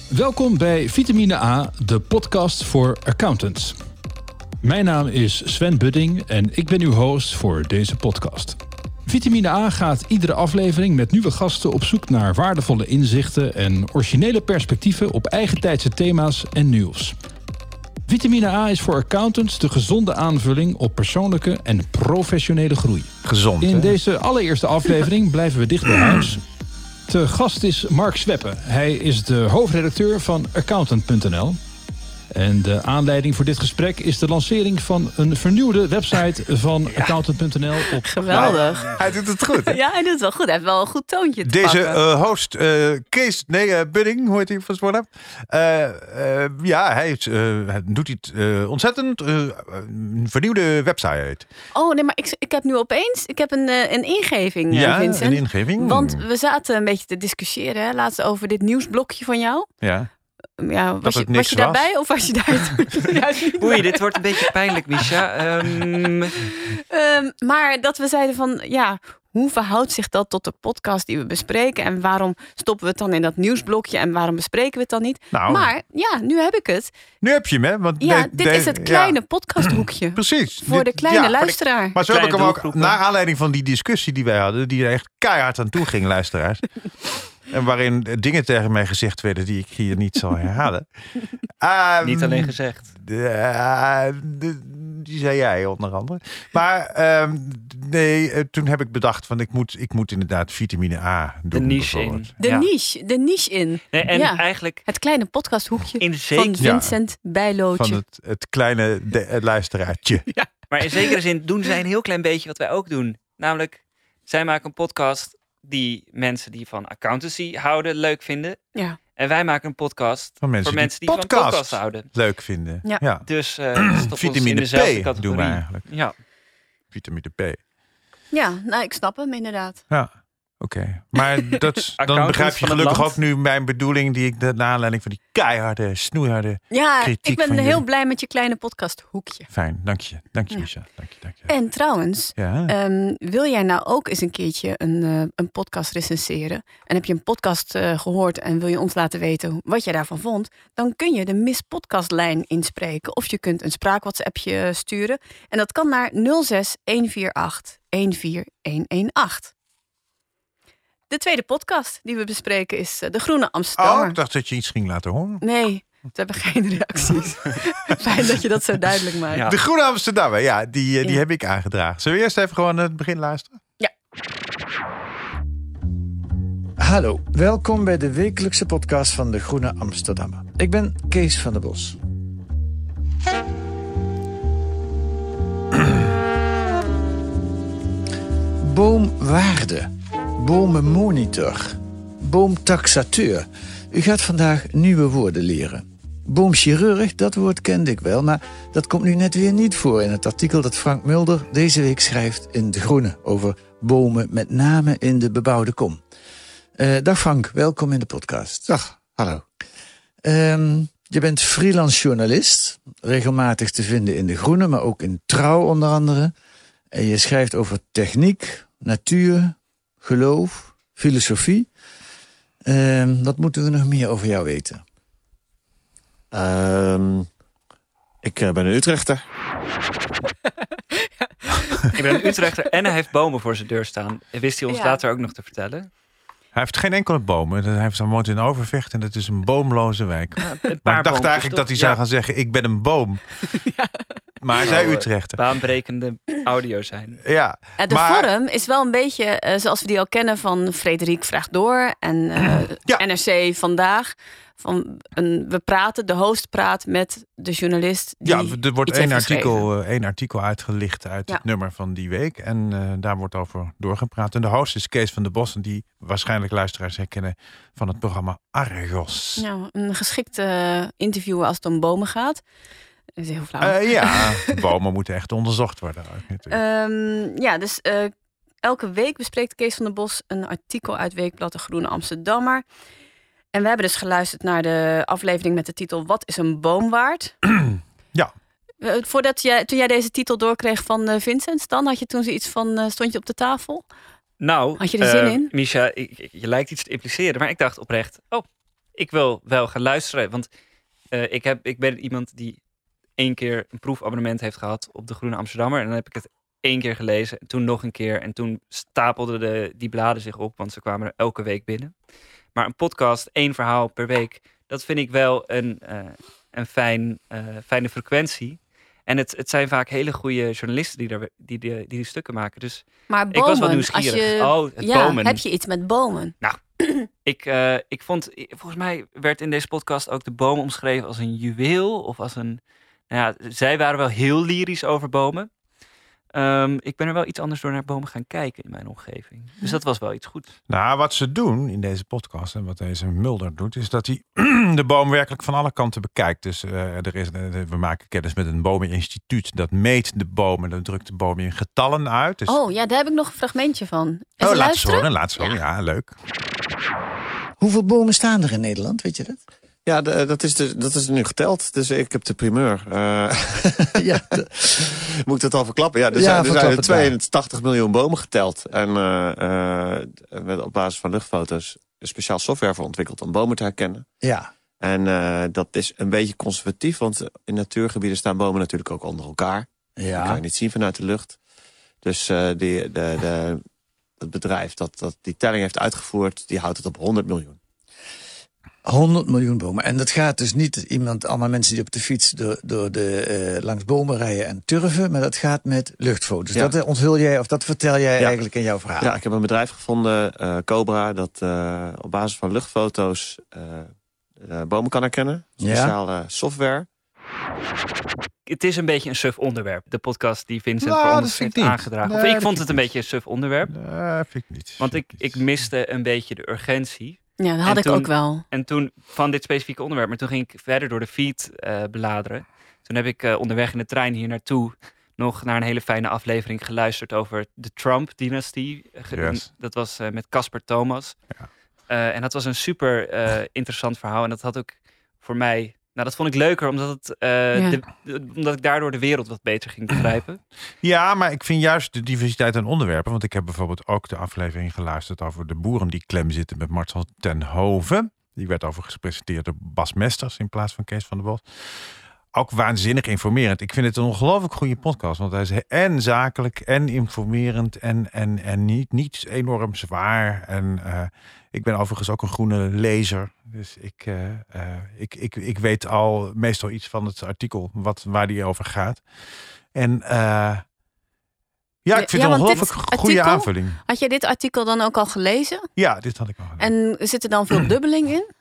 Welkom bij Vitamine A, de podcast voor accountants. Mijn naam is Sven Budding en ik ben uw host voor deze podcast. Vitamine A gaat iedere aflevering met nieuwe gasten op zoek naar waardevolle inzichten en originele perspectieven op eigen tijdse thema's en nieuws. Vitamine A is voor accountants de gezonde aanvulling op persoonlijke en professionele groei.
Gezond.
In
hè?
deze allereerste aflevering blijven we dicht bij huis. Te gast is Mark Zweppen. Hij is de hoofdredacteur van accountant.nl. En de aanleiding voor dit gesprek is de lancering van een vernieuwde website van accountant.nl op
Geweldig.
Hij doet het goed. hè?
Ja, hij doet het wel goed. Hij heeft wel een goed toontje te
Deze
pakken.
eh, host, eh, Kees, nee, eh, Budding, hoe heet hij van Sportlab? Eh, eh, ja, hij, is, eh, hij doet iets eh, ontzettend. eh, een vernieuwde website.
Oh, nee, maar ik, ik heb nu opeens... Ik heb een, eh, een ingeving, eh,
ja,
Vincent.
een ingeving.
Want we zaten een beetje te discussiëren hè, laatst over dit nieuwsblokje van jou. Mm,
Ja.
Ja, was,
het
je,
niks
was je
was.
daarbij of was je daar toen juist niet bij?
Oei, dit wordt een beetje pijnlijk, Misha. Ehm,
Ehm, maar dat we zeiden van, ja, hoe verhoudt zich dat tot de podcast die we bespreken? En waarom stoppen we het dan in dat nieuwsblokje? En waarom bespreken we het dan niet?
Nou.
Maar ja, nu heb ik het.
Nu heb je hem, hè? Want
Ja,
de-
dit
de-
is het
ja,
kleine podcasthoekje.
precies.
Voor
Dit-
de kleine
ja, voor de-
luisteraar.
Maar zo heb ik
Kleine
hem ook,
doelgroepen.
naar aanleiding van die discussie die wij hadden, die er echt keihard aan toe ging, luisteraars. en waarin eh, dingen tegen mij gezegd werden die ik hier niet zal herhalen. Ehm,
niet alleen gezegd.
de- eh, de- die zei jij onder andere. Maar ehm, nee, eh, toen heb ik bedacht van ik moet, ik moet inderdaad vitamine A doen.
De niche in.
bijvoorbeeld.
De
Ja.
niche, de niche in.
Nee, en
Ja.
eigenlijk
Het kleine podcasthoekje
in
van
zekere,
Ja.
Vincent
Van
Bijlootje.
het, het kleine de- het luisteraartje.
maar in zekere zin doen zij een heel klein beetje wat wij ook doen. Namelijk, zij maken een podcast die mensen die van accountancy houden leuk vinden.
Ja.
En wij maken een podcast
Van mensen
voor
die
mensen die, van
podcasts.
podcasts houden.
Leuk vinden.
Ja.
ja.
Dus eh stoppen we ons in
Vitamine
dezelfde
P
categorie.
doen we eigenlijk.
Ja.
Vitamine P.
Ja, nou, ik snap hem inderdaad.
Ja, oké. Maar dat, is- dan
Accountant
begrijp je
van het
gelukkig
land.
ook nu mijn bedoeling... die ik de naar aanleiding van die keiharde, snoeiharde...
Ja,
Kritiek
ik ben
van
heel
jullie.
blij met je kleine podcasthoekje.
Fijn, dank je. Dank je,
Ja.
Misha. Dank je, dank je.
En trouwens,
ja.
eh,
Ehm, wil jij nou ook eens een keertje een, eh, een podcast recenseren? En heb je een podcast eh, gehoord en wil je ons laten weten wat je daarvan vond? Dan kun je de Miss Podcastlijn inspreken. Of je kunt een spraak-WhatsAppje sturen. En dat kan naar 06 148 14118. De tweede podcast die we bespreken is eh, De Groene
Oh,
Amsterdammer.
ik dacht dat je iets ging laten horen.
Nee, we hebben geen reacties. Fijn dat je dat zo duidelijk maakt.
Ja.
De Groene Amsterdammer, ja, die, eh, die
Ja.
heb ik aangedragen. Zullen we eerst even gewoon het begin luisteren?
Hallo, welkom bij de wekelijkse podcast van De Groene Amsterdammer. Ik ben Kees van der Bos. Boomwaarde, bomenmonitor, boomtaxateur. U gaat vandaag nieuwe woorden leren. Boomchirurg, dat woord kende ik wel, maar dat komt nu net weer niet voor in het artikel dat Frank Mulder deze week schrijft in De Groene over bomen, met name in de bebouwde kom. Eh, dag Frank, welkom in de podcast. Dag, hallo. je bent freelance journalist, regelmatig te vinden in De Groene, maar ook in Trouw onder andere. En je schrijft over techniek, natuur, geloof, filosofie. Ehm, wat moeten we nog meer over jou weten?
Ehm, ik eh, ben een Utrechter.
Ik ben een Utrechter en hij heeft bomen voor zijn deur staan. Wist hij ons
Ja.
later ook nog te vertellen.
Hij heeft geen enkele bomen. Hij heeft- hij woont in Overvecht en dat is een boomloze wijk.
Een paar
Maar ik dacht
boompjes,
eigenlijk dat
toch?
hij zou
Ja, Nou,
gaan zeggen, ik ben een boom. Maar hij zei Utrechter.
eh, baanbrekende audio zijn.
Ja,
Ja, Eh, de
Maar-
vorm is wel een beetje eh, zoals we die al kennen van Frederik Vraagt Door en eh,
Ja.
NRC Vandaag. Van een, we praten, de host praat met de journalist. Die
Ja, er wordt
iets
één
heeft geschreven.
artikel, eh, één artikel uitgelicht uit
Ja.
het nummer van die week. En eh, daar wordt over doorgepraat. En de host is Kees van der Bossen, die waarschijnlijk luisteraars herkennen van het programma Argos. Ja,
Ja, nou, een geschikte interviewer als het om bomen gaat. Dat is heel flauw.
Eh, ja bomen moeten echt onderzocht worden. ook natuurlijk.
Ehm, ja, dus eh, elke week bespreekt Kees van der Bos een artikel uit Weekblad De Groene Amsterdammer. En we hebben dus geluisterd naar de aflevering met de titel Wat is een boom waard?
Ja.
Eh, Voordat jij, toen jij deze titel doorkreeg van eh, Vincent, dan had je toen zoiets van, eh, stond je op de tafel?
Nou,
Had je er zin
eh,
in?
Misha, ik- ik- je lijkt iets te impliceren, maar ik dacht oprecht, oh, ik wil wel gaan luisteren. Want eh, ik, heb, ik ben iemand die één keer een proefabonnement heeft gehad op de Groene Amsterdammer. En dan heb ik het één keer gelezen, en toen nog een keer. En toen stapelden de, die bladen zich op, want ze kwamen er elke week binnen. Maar een podcast, één verhaal per week, dat vind ik wel een, eh, een fijn, eh, fijne frequentie. En het, het zijn vaak hele goede journalisten die, daar, die, die, die die stukken maken. Dus
Maar
Ik was wel
bomen, als
nieuwsgierig.
je,
Oh, het
ja,
bomen.
heb je iets met bomen?
nou, ik, eh, ik vond, volgens mij werd in deze podcast ook de boom omschreven als een juweel of als een. Nou ja, zij waren wel heel lyrisch over bomen. Ehm, ik ben er wel iets anders door naar bomen gaan kijken in mijn omgeving. Dus dat was wel iets goeds.
Nou, wat ze doen in deze podcast en wat deze Mulder doet, is dat hij de boom werkelijk van alle kanten bekijkt. Dus eh, er is, eh, we maken kennis met een bomeninstituut. Dat meet de bomen, dat drukt de bomen in getallen uit. Dus,
Oh ja, daar heb ik nog een fragmentje van. Even
oh, laat ze
luisteren.
horen, laat ze horen. Ja, leuk.
Hoeveel bomen staan er in Nederland, weet je dat?
Ja, de- dat is, dus, dat is nu geteld. Dus ik heb de primeur.
ja,
Moet ik dat al verklappen? Ja, er
Ja,
zijn, er
verklap
zijn
het
82 miljoen bomen geteld. En eh, eh, met op basis van luchtfoto's speciaal software voor ontwikkeld om bomen te herkennen.
Ja.
En eh, dat is een beetje conservatief, want in natuurgebieden staan bomen natuurlijk ook onder elkaar. Dat kan
Ja.
je niet zien vanuit de lucht. Dus eh, die, de, de, het bedrijf dat, dat die telling heeft uitgevoerd, die houdt het op 100 miljoen.
100 miljoen bomen. En dat gaat dus niet iemand, allemaal mensen die op de fiets door, door de, eh, langs bomen rijden en turven, maar dat gaat met luchtfoto's.
Ja.
Dat eh, onthul jij of dat vertel jij
Ja.
Eh, eigenlijk in jouw verhaal.
Ja, ik heb een bedrijf gevonden, eh, Cobra, dat eh, op basis van luchtfoto's eh, eh, bomen kan herkennen.
Ja.
Speciale software.
Het is een beetje een suf onderwerp. De podcast die Vincent
Nou,
voor
dat
ons
vind
heeft
ik niet.
aangedragen.
Nee,
of ik
dat
vond
vind
het een beetje een suf onderwerp.
Nee, vind ik niet.
Want ik, ik miste een beetje de urgentie.
Ja, dat had
En
ik
toen-
ook wel.
En toen van dit specifieke onderwerp. Maar toen ging ik verder door de feed eh, beladeren. Toen heb ik eh, onderweg in de trein hier naartoe nog naar een hele fijne aflevering geluisterd over de Trump-dynastie. Ge-
Yes.
Dat was eh, met Casper Thomas. Eh, en dat was een super eh, interessant verhaal. En dat had ook voor mij. Nou, dat vond ik leuker omdat, het, eh,
Ja.
de- de- omdat ik daardoor de wereld wat beter ging begrijpen.
Ja, maar ik vind juist de diversiteit aan onderwerpen. Want ik heb bijvoorbeeld ook de aflevering geluisterd over de boeren die klem zitten met Marcel ten Hoven. Die werd overigens gepresenteerd door Bas Mesters in plaats van Kees van der Bos. Ook waanzinnig informerend. Ik vind het een ongelooflijk goede podcast. Want hij is en zakelijk en informerend en, en, en niet, niet enorm zwaar. En eh, ik ben overigens ook een groene lezer. Dus ik, eh, eh, ik, ik, ik weet al meestal iets van het artikel wat, waar die over gaat. En eh, ja, ik vind het een
want dit
ongelooflijk goede
artikel-
aanvulling.
Had jij dit artikel dan ook al gelezen?
Ja, dit had ik al.
En zit er dan veel dubbeling in?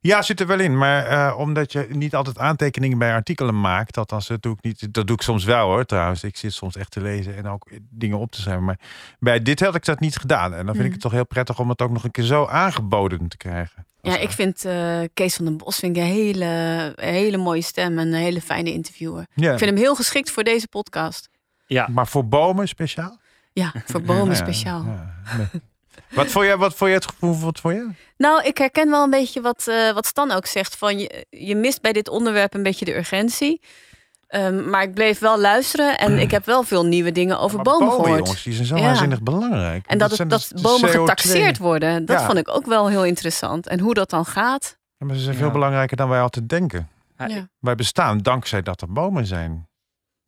Ja, zit er wel in. Maar eh, omdat je niet altijd aantekeningen bij artikelen maakt, dat, dat doe ik niet. Dat doe ik soms wel hoor, trouwens. Ik zit soms echt te lezen en ook dingen op te schrijven. Maar bij dit had ik dat niet gedaan. En dan vind ik
Hmm.
het toch heel prettig om het ook nog een keer zo aangeboden te krijgen.
Ja, ik vind eh, Kees van den Bos vind ik een hele, een hele mooie stem en een hele fijne interviewer.
Ja.
Ik vind hem heel geschikt voor deze podcast.
Ja.
Maar voor bomen speciaal?
Ja, voor bomen
Ja,
speciaal.
Nee. wat vond jij? Wat vond jij het gevoel? Wat vond jij?
Nou, ik herken wel een beetje wat, eh, wat Stan ook zegt. Van je, je mist bij dit onderwerp een beetje de urgentie. Ehm, maar ik bleef wel luisteren en ik heb wel veel nieuwe dingen over bomen,
Bomen,
gehoord.
jongens, die zijn zo
Ja.
waanzinnig belangrijk.
En dat, het,
zijn dus
dat
de
bomen
CO2.
getaxeerd worden, dat
Ja.
vond ik ook wel heel interessant. En hoe dat dan gaat.
Ja, maar ze zijn veel belangrijker dan wij altijd denken.
Ja.
Wij bestaan dankzij dat er bomen zijn.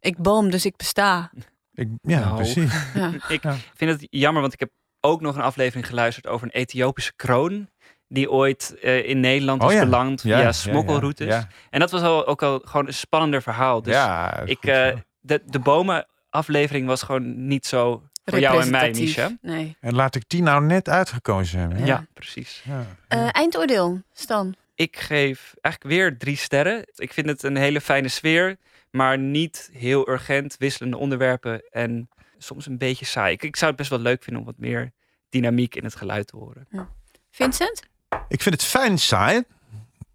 Ik boom, dus ik besta.
Ik, ja,
Nou.
precies.
Ja.
ik vind het jammer, want ik heb ook nog een aflevering geluisterd over een Ethiopische kroon. Die ooit eh, in Nederland
Oh
is
ja.
beland
Ja, ja,
via
ja,
smokkelroutes.
ja.
En dat was al, ook al gewoon een spannender verhaal. Dus
Ja,
ik, eh, de, de bomen aflevering was gewoon niet zo voor jou en mij,
Representatief,
Misha.
Nee.
En laat ik die nou net uitgekozen hebben. hè?
Ja, precies.
Eh, eindoordeel, Stan.
Ik geef eigenlijk weer drie sterren. Ik vind het een hele fijne sfeer, maar niet heel urgent. Wisselende onderwerpen en soms een beetje saai. Ik, ik zou het best wel leuk vinden om wat meer dynamiek in het geluid te horen.
Vincent?
Ik vind het fijn saai.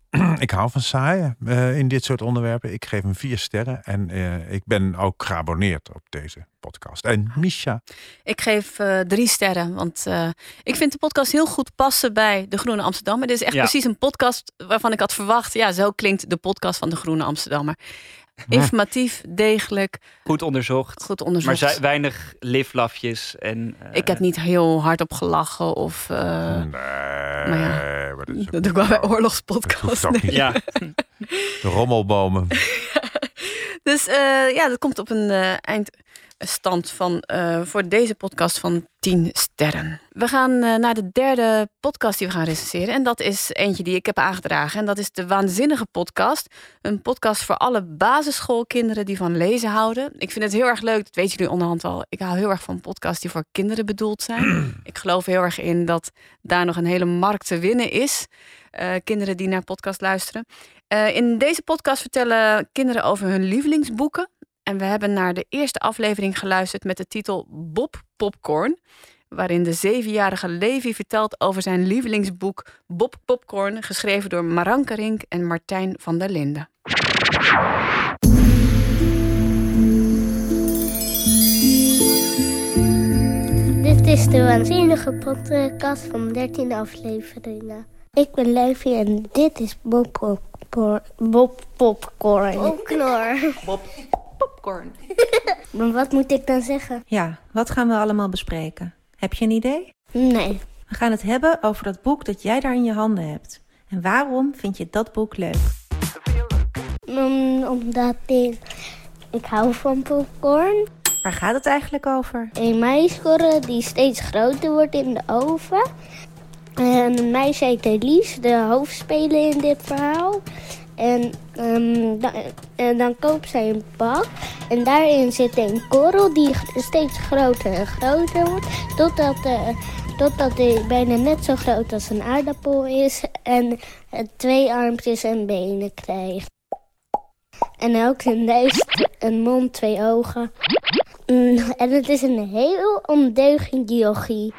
ik hou van saai eh, in dit soort onderwerpen. Ik geef hem vier sterren. En eh, ik ben ook geabonneerd op deze podcast. En Misha.
Ik geef eh, drie sterren, want eh, ik vind de podcast heel goed passen bij De Groene Amsterdammer. Dit is echt
Ja.
precies een podcast waarvan ik had verwacht. Ja, zo klinkt de podcast van De Groene Amsterdammer. Informatief, degelijk,
Goed onderzocht.
goed onderzocht.
Maar zij, weinig liflafjes en... eh,
Ik heb niet heel hard op gelachen of... eh, Maar ja,
dat
Hmm.
is ook
dat doe ik wel bij
hoeft
oorlogspodcast.
ook niet.
nee.
Ja. De rommelbomen.
Dus eh, ja, dat komt op een eh, eind. stand van, eh, voor deze podcast van 10 sterren. We gaan eh, naar de derde podcast die we gaan recenseren. En dat is eentje die ik heb aangedragen. En dat is de Waanzinnige Podcast. Een podcast voor alle basisschoolkinderen die van lezen houden. Ik vind het heel erg leuk, dat weten jullie onderhand al. Ik hou heel erg van podcasts die voor kinderen bedoeld zijn. ik geloof heel erg in dat daar nog een hele markt te winnen is. Eh, kinderen die naar podcast luisteren. Eh, in deze podcast vertellen kinderen over hun lievelingsboeken. En we hebben naar de eerste aflevering geluisterd met de titel Bob Popcorn. Waarin de zevenjarige Levi vertelt over zijn lievelingsboek Bob Popcorn. Geschreven door Maranke Rink en Martijn van der Linden.
Dit is de waanzinnige podcast van 13 afleveringen. Ik ben Levi en dit is Bob Popcorn. Bob Popcorn.
Bob Popcorn.
Maar wat moet ik dan zeggen?
Ja, wat gaan we allemaal bespreken? Heb je een idee?
Nee.
We gaan het hebben over dat boek dat jij daar in je handen hebt. En waarom vind je dat boek leuk?
Mm, omdat ik, ik hou van popcorn.
Waar gaat het eigenlijk over?
Een maïskorrel die steeds groter wordt in de oven. En een meisje heet Elise, de hoofdspeler in dit verhaal. En, ehm, da- en dan koopt zij een bak. En daarin zit een korrel die g- steeds groter en groter wordt. Totdat, eh totdat hij bijna net zo groot als een aardappel is. En eh, twee armpjes en benen krijgt. En ook een neus, een mond, twee ogen. Mm, En het is een heel ondeugend yogi.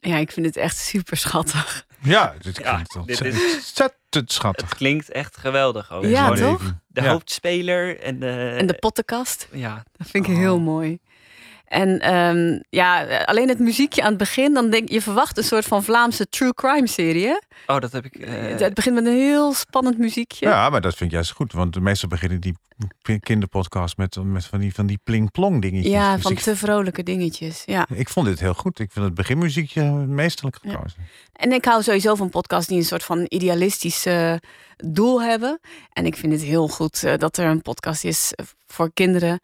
Ja, ik vind het echt super schattig.
Ja, dit
Ja,
klinkt
dit
ontzettend
is-
schattig.
Het klinkt echt geweldig. Ook.
Ja,
Gewoon
toch?
De
Ja.
hoofdspeler en de...
En de pottenkast.
Ja.
Dat vind ik heel mooi. En ehm, ja, alleen het muziekje aan het begin, dan denk je verwacht een soort van Vlaamse true crime serie. hè?
Oh, dat heb ik... eh,
het begint met een heel spannend muziekje.
Ja, maar dat vind ik juist goed. Want meestal beginnen die p- kinderpodcasts met, met van die, van die pling-plong dingetjes.
Ja,
Dus
van
ik,
te vrolijke dingetjes. Ja.
ik vond dit heel goed. Ik vind het beginmuziekje meesterlijk gekozen.
En ik hou sowieso van podcasts die een soort van idealistisch eh, doel hebben. En ik vind het heel goed eh, dat er een podcast is voor kinderen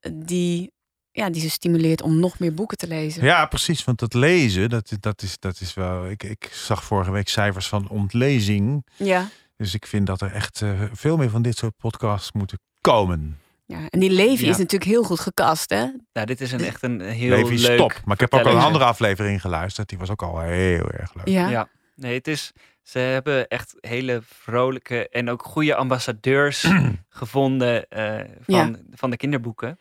eh, die, ja, die ze stimuleert om nog meer boeken te lezen.
Ja, precies. Want dat lezen, dat, dat, is, dat is wel... Ik, ik zag vorige week cijfers van ontlezing.
Ja.
Dus ik vind dat er echt eh, veel meer van dit soort podcasts moeten komen.
Ja, en die Levi
Ja.
is natuurlijk heel goed gekast, hè?
Nou, dit is een, echt een heel
Levi,
leuk...
stop. Maar ik heb ook al een
vertelling.
andere aflevering geluisterd. Die was ook al heel erg leuk.
Ja.
Nee, het is... Ze hebben echt hele vrolijke en ook goede ambassadeurs gevonden eh, van, van de kinderboeken.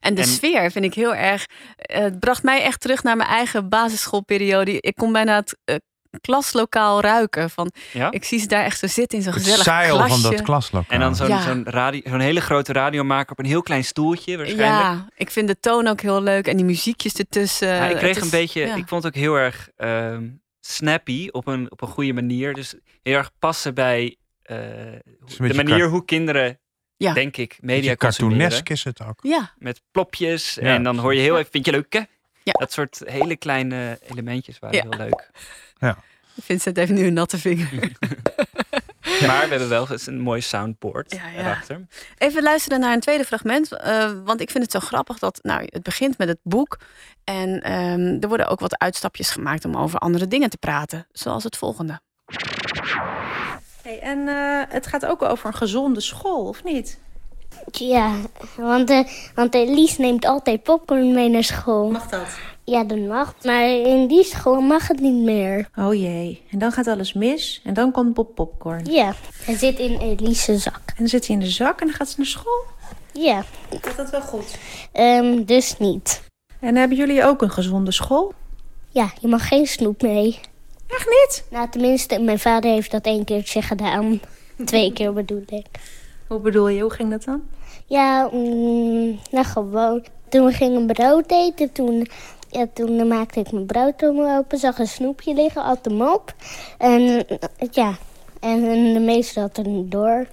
En de sfeer vind ik heel erg. eh, Het bracht mij echt terug naar mijn eigen basisschoolperiode. Ik kon bijna het eh, klaslokaal ruiken. Van,
Ja?
Ik zie ze daar echt zo zitten in zo'n
Het
gezellig
zeil van
klasje.
dat klaslokaal.
En dan zo'n
Ja.
zo'n radio, zo'n hele grote radiomaker op een heel klein stoeltje waarschijnlijk.
Ja, ik vind de toon ook heel leuk en die muziekjes ertussen.
Ja, Nou, ik kreeg
Eh, Het is-
een beetje,
ja.
ik vond het ook heel erg ehm, snappy op een, op een goede manier. Dus heel erg passen bij eh,
een
de
beetje
manier
kar-
hoe kinderen,
Ja.
denk ik, media
Beetje
consumeren.
Cartoonesk is het ook.
Ja.
Met plopjes
Ja.
en dan hoor je heel
Ja.
even, vind je leuk hè?
Ja.
Dat soort hele kleine elementjes waren
Ja.
heel leuk.
Vincent heeft nu een natte vinger.
Maar we hebben wel eens een mooi soundboard
ja.
erachter.
Even luisteren naar een tweede fragment. eh, want ik vind het zo grappig dat nou, het begint met het boek. En ehm, er worden ook wat uitstapjes gemaakt om over andere dingen te praten. Zoals het volgende.
Hey, en eh, het gaat ook over een gezonde school, of niet?
Ja, want, eh want Elise neemt altijd popcorn mee naar school.
Mag dat?
Ja, dat mag. Maar in die school mag het niet meer.
Oh jee, en dan gaat alles mis en dan komt Bob Popcorn.
Ja, hij zit in Elise's zak.
En dan zit hij in de zak en dan gaat ze naar school?
Ja,
Gaat dat wel goed?
ehm, dus niet.
En hebben jullie ook een gezonde school?
Ja, je mag geen snoep mee.
Echt niet?
Nou, tenminste, mijn vader heeft dat één keertje gedaan. Twee keer bedoel ik.
Hoe bedoel je, hoe ging dat dan?
Ja, mm, nou gewoon. Toen we gingen brood eten, toen, ja, toen maakte ik mijn broodtrommel open, zag een snoepje liggen, at hem op. En eh, ja, en, en de meester had er niet door.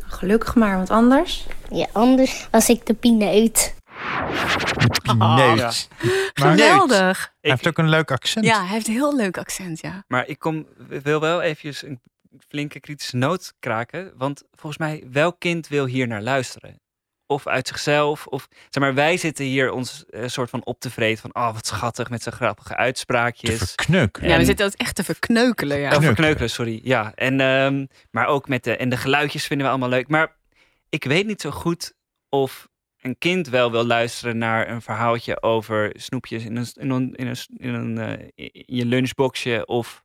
Gelukkig maar, want anders?
Ja, anders was ik de pineut.
Nee.
Oh. Ja.
Geweldig.
Hij heeft ook een leuk accent.
Ja, hij heeft een heel leuk accent, ja.
Maar ik kom, wil wel eventjes een flinke kritische noot kraken. Want volgens mij, welk kind wil hier naar luisteren? of uit zichzelf. Of, zeg maar, wij zitten hier ons eh, soort van op te vreten van, oh wat schattig met zijn grappige uitspraakjes.
verkneukelen.
Ja, we
En-
zitten dat echt te verkneukelen. Ja.
Oh, verkneukelen, sorry. Ja, en, ehm, maar ook met de, en de geluidjes vinden we allemaal leuk. Maar ik weet niet zo goed of een kind wel wil luisteren naar een verhaaltje over snoepjes in, een, in, een, in, een, in, een, eh, in je lunchboxje of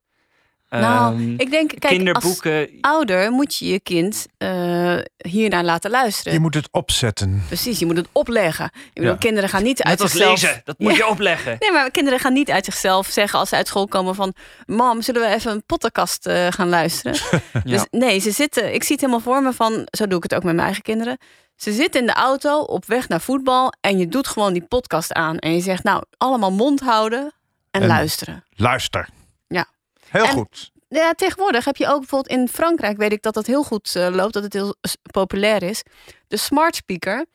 nou,
ehm,
ik denk, kijk,
kinderboeken.
als ouder moet je je kind eh, hiernaar laten luisteren.
Je moet het opzetten.
Precies, je moet het opleggen. Ik bedoel,
Ja.
kinderen gaan niet uit
Net als
zichzelf...
lezen, dat moet
Ja.
je opleggen.
Nee, maar kinderen gaan niet uit zichzelf zeggen als ze uit school komen van... Mam, zullen we even een podcast eh, gaan luisteren? Dus nee, ze zitten... Ik zie het helemaal voor me van... Zo doe ik het ook met mijn eigen kinderen. Ze zitten in de auto op weg naar voetbal... en je doet gewoon die podcast aan. En je zegt, nou, allemaal mond houden en,
En-
luisteren.
Luister.
Ja.
Heel
En-
goed.
Ja, tegenwoordig heb je ook bijvoorbeeld in Frankrijk, weet ik dat dat heel goed eh, loopt, dat het heel s- populair is. De smart speaker.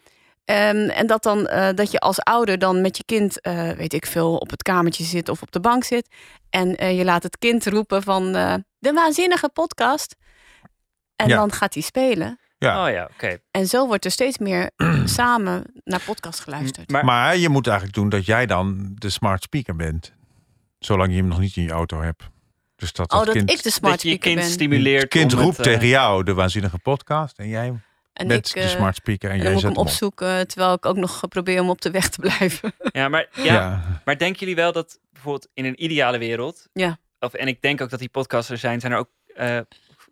Ehm, en dat dan eh, dat je als ouder dan met je kind, eh, weet ik veel, op het kamertje zit of op de bank zit. En eh, je laat het kind roepen van eh, de waanzinnige podcast. En
Ja.
dan gaat hij spelen.
Ja.
Oh ja, oké.
En zo wordt er steeds meer samen naar podcast geluisterd.
Maar, je moet eigenlijk doen dat jij dan de smart speaker bent. Zolang je hem nog niet in je auto hebt. Dus dat,
Oh,
het
dat
kind,
ik de smart
je je
speaker
kind
ben.
stimuleert
Het kind
om het,
roept
eh,
tegen jou de waanzinnige podcast. En jij
En
bent
ik,
de
eh,
smart speaker. En,
En dan
jij
moet ik hem
zet hem op.
opzoeken, terwijl ik ook nog eh, probeer om op de weg te blijven.
Ja, maar, ja,
Ja.
maar denken jullie wel dat bijvoorbeeld in een ideale wereld,
Ja.
of, en ik denk ook dat die podcasts er zijn, zijn er ook, eh,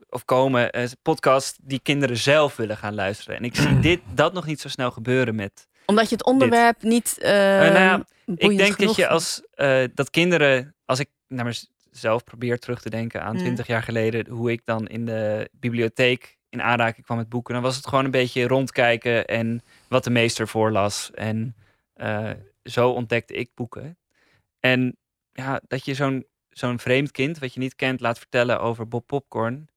of komen, eh, podcasts die kinderen zelf willen gaan luisteren. En ik
Mm.
zie dit, dat nog niet zo snel gebeuren met...
Omdat je het onderwerp niet. eh,
Eh, nou ja, ik denk
boeiend
dat
genoeg
je
vindt.
als, eh, dat kinderen, als ik naar mezelf probeer terug te denken aan
Mm.
20 jaar geleden, hoe ik dan in de bibliotheek in aanraking kwam met boeken, dan was het gewoon een beetje rondkijken en wat de meester voorlas. En eh, zo ontdekte ik boeken. En ja, dat je zo'n zo'n vreemd kind, wat je niet kent, laat vertellen over Bob Popcorn.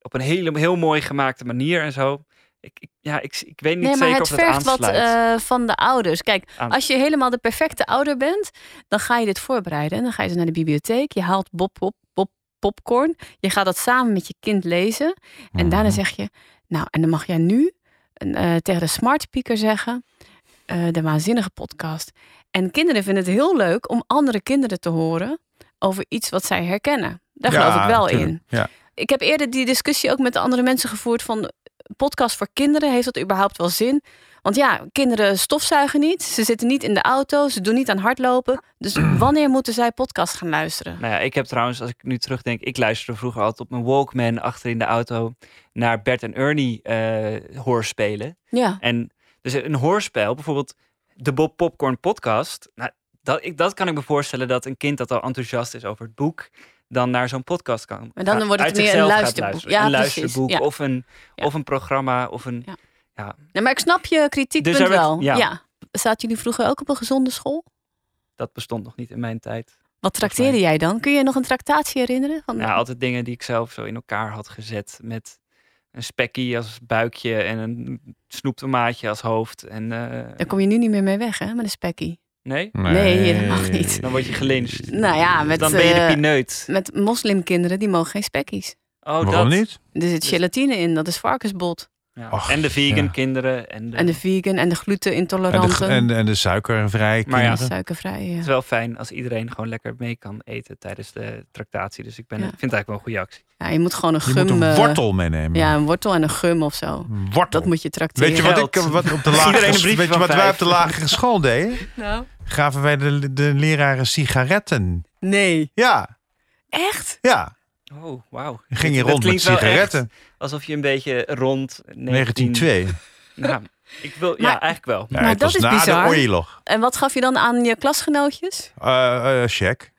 Op een hele, heel mooi gemaakte manier en zo. Ik, ik- ja, ik, ik weet niet
Nee, maar
zeker
het
of dat
vergt wat
aansluit.
eh, van de ouders. Kijk,
Aan-
als je helemaal de perfecte ouder bent, dan ga je dit voorbereiden. En Dan ga je dus naar de bibliotheek. Je haalt Bob, Bob, Bob popcorn. Je gaat dat samen met je kind lezen.
Mhm.
En daarna zeg je, nou, en dan mag jij nu eh, tegen de smart speaker zeggen, eh, de waanzinnige podcast. En kinderen vinden het heel leuk om andere kinderen te horen over iets wat zij herkennen. Daar geloof
Ja,
ik wel
natuurlijk.
in.
Ja.
Ik heb eerder die discussie ook met de andere mensen gevoerd van podcast voor kinderen, heeft dat überhaupt wel zin? Want ja, kinderen stofzuigen niet, ze zitten niet in de auto, ze doen niet aan hardlopen. Dus wanneer moeten zij podcast gaan luisteren?
Nou ja, ik heb trouwens, als ik nu terugdenk, ik luisterde vroeger altijd op mijn Walkman achter in de auto naar Bert en Ernie eh, hoorspelen.
Ja.
En dus een hoorspel, bijvoorbeeld de Bob Popcorn podcast. Nou, dat, ik, dat kan ik me voorstellen dat een kind dat al enthousiast is over het boek, dan naar zo'n podcast kan.
Maar dan
gaan-
wordt het
uit
meer een
zichzelf gaat
luisterboek.
luisteren.
Ja,
een
precies.
luisterboek
Ja.
of, een, of een programma of een... Ja.
Nou, maar ik snap je
Dus
kritiekpunt
daar werd-
wel.
ja.
Ja. Zaten jullie vroeger ook op een gezonde school?
dat bestond nog niet in mijn tijd.
Wat trakteerde jij dan? Kun je je nog een tractatie herinneren? Van,
Ja, altijd dingen die ik zelf zo in elkaar had gezet. Met een spekkie als buikje en een snoeptomaatje als hoofd. En, eh,
Daar kom je nu niet meer mee weg, hè, met een spekkie.
nee?
Nee, dat mag niet.
Dan word je gelinched.
Nou ja, met,
dan ben je
eh,
de pineut.
Met moslimkinderen, die mogen geen spekkies.
Oh,
Waarom
dat.
niet?
Er zit gelatine in, dat is varkensbot.
Ja.
Och,
en de vegan
ja.
kinderen. En de,
En de vegan en de
En de,
gluten-intoleranten.
ge- en, en de suikervrij
Maar ja.
kinderen.
Suikervrij, ja.
Het is wel fijn als iedereen gewoon lekker mee kan eten tijdens de tractatie. Dus ik ben,
Ja.
vind het eigenlijk wel een goede actie.
Ja, je moet gewoon een
Je
gum...
moet een
eh,
wortel meenemen.
Ja, een wortel en een gum of zo.
Wortel.
Dat moet je tracteren.
Weet je wat, ik, eh, wat, op de lagere,
Iedereen een briefje
weet je
van
wat wij
vijf.
op de lagere school deden?
Nou.
Gaven wij de, de leraren sigaretten.
Nee.
Ja,
Echt?
ja.
Oh, wauw.
Ging je
Dit- dit
rond met
klinkt wel
sigaretten.
echt Alsof je een beetje rond 19...
1902.
Nou, ik wil, ja,
Maar-
eigenlijk wel.
Ja,
Maar
het
dat
was
is
na
bizar.
de oorlog.
En wat gaf je dan aan je klasgenootjes?
Eh, eh, check.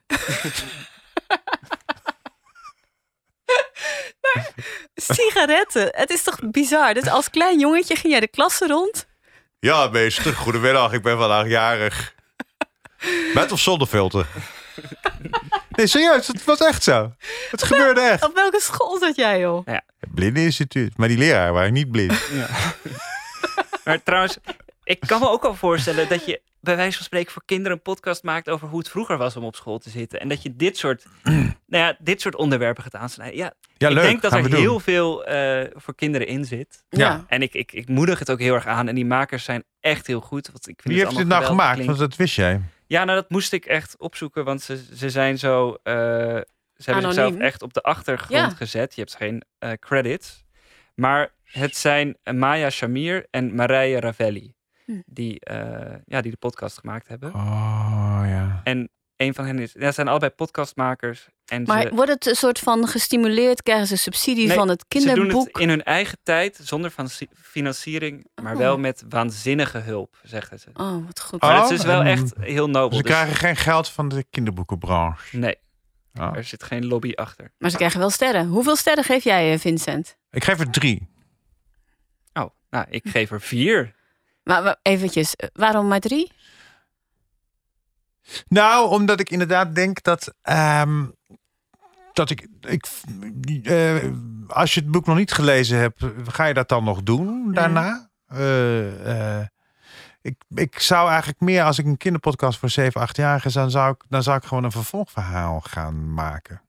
Sigaretten. Het is toch bizar? Dus als klein jongetje ging jij de klasse rond?
Ja, meester. Goedemiddag, ik ben vandaag jarig. Met of zonder filter? Nee, serieus, het was echt zo. Het gebeurde echt.
Op welke school zat jij, joh?
Blindeninstituut. Maar die leraar waren niet blind.
Maar trouwens, ik kan me ook al voorstellen dat je bij wijze van spreken voor kinderen een podcast maakt over hoe het vroeger was om op school te zitten. En dat je dit soort, nou ja, dit soort onderwerpen gaat aansnijden. Ja,
Ja,
ik
leuk.
denk dat
Gaan
er
we doen.
heel veel eh, voor kinderen in zit.
Ja.
En ik, ik, ik moedig het ook heel erg aan. En die makers zijn echt heel goed. Want ik vind
Wie
het
heeft dit
allemaal
nou
geweldig
gemaakt?
klinken.
Want dat wist jij.
Ja, nou dat moest ik echt opzoeken, want ze, ze zijn zo. eh, ze hebben zichzelf
Anoniem.
echt op de achtergrond
Ja.
gezet. Je hebt geen eh, credits. Maar het zijn eh, Maya Shamir en Marije Ravelli.
Hm.
Die, eh, ja, die de podcast gemaakt hebben.
Oh ja.
En een van hen is. Ja, ze zijn allebei podcastmakers. En
Maar
ze,
wordt het een soort van gestimuleerd? Krijgen ze subsidie
Nee,
van het
Ze doen
kinderboek?
het in hun eigen tijd, zonder van financiering, maar
Oh.
wel met waanzinnige hulp, zeggen ze.
Oh, wat goed.
Maar het
Oh,
is wel
en-
echt heel nobel.
Ze
dus-
krijgen geen geld van de kinderboekenbranche.
Nee,
Oh.
er zit geen lobby achter.
Maar ze krijgen wel sterren. Hoeveel sterren geef jij, eh, Vincent?
Ik geef er drie.
Oh, nou, ik geef er vier.
Maar, maar eventjes, eh, waarom maar drie?
Nou, omdat ik inderdaad denk dat. ehm, dat ik. ik eh, als je het boek nog niet gelezen hebt, ga je dat dan nog doen daarna? Eh, eh, ik, ik zou eigenlijk meer, als ik een kinderpodcast voor 7, 8-jarigen dan zou ik, dan zou ik gewoon een vervolgverhaal gaan maken.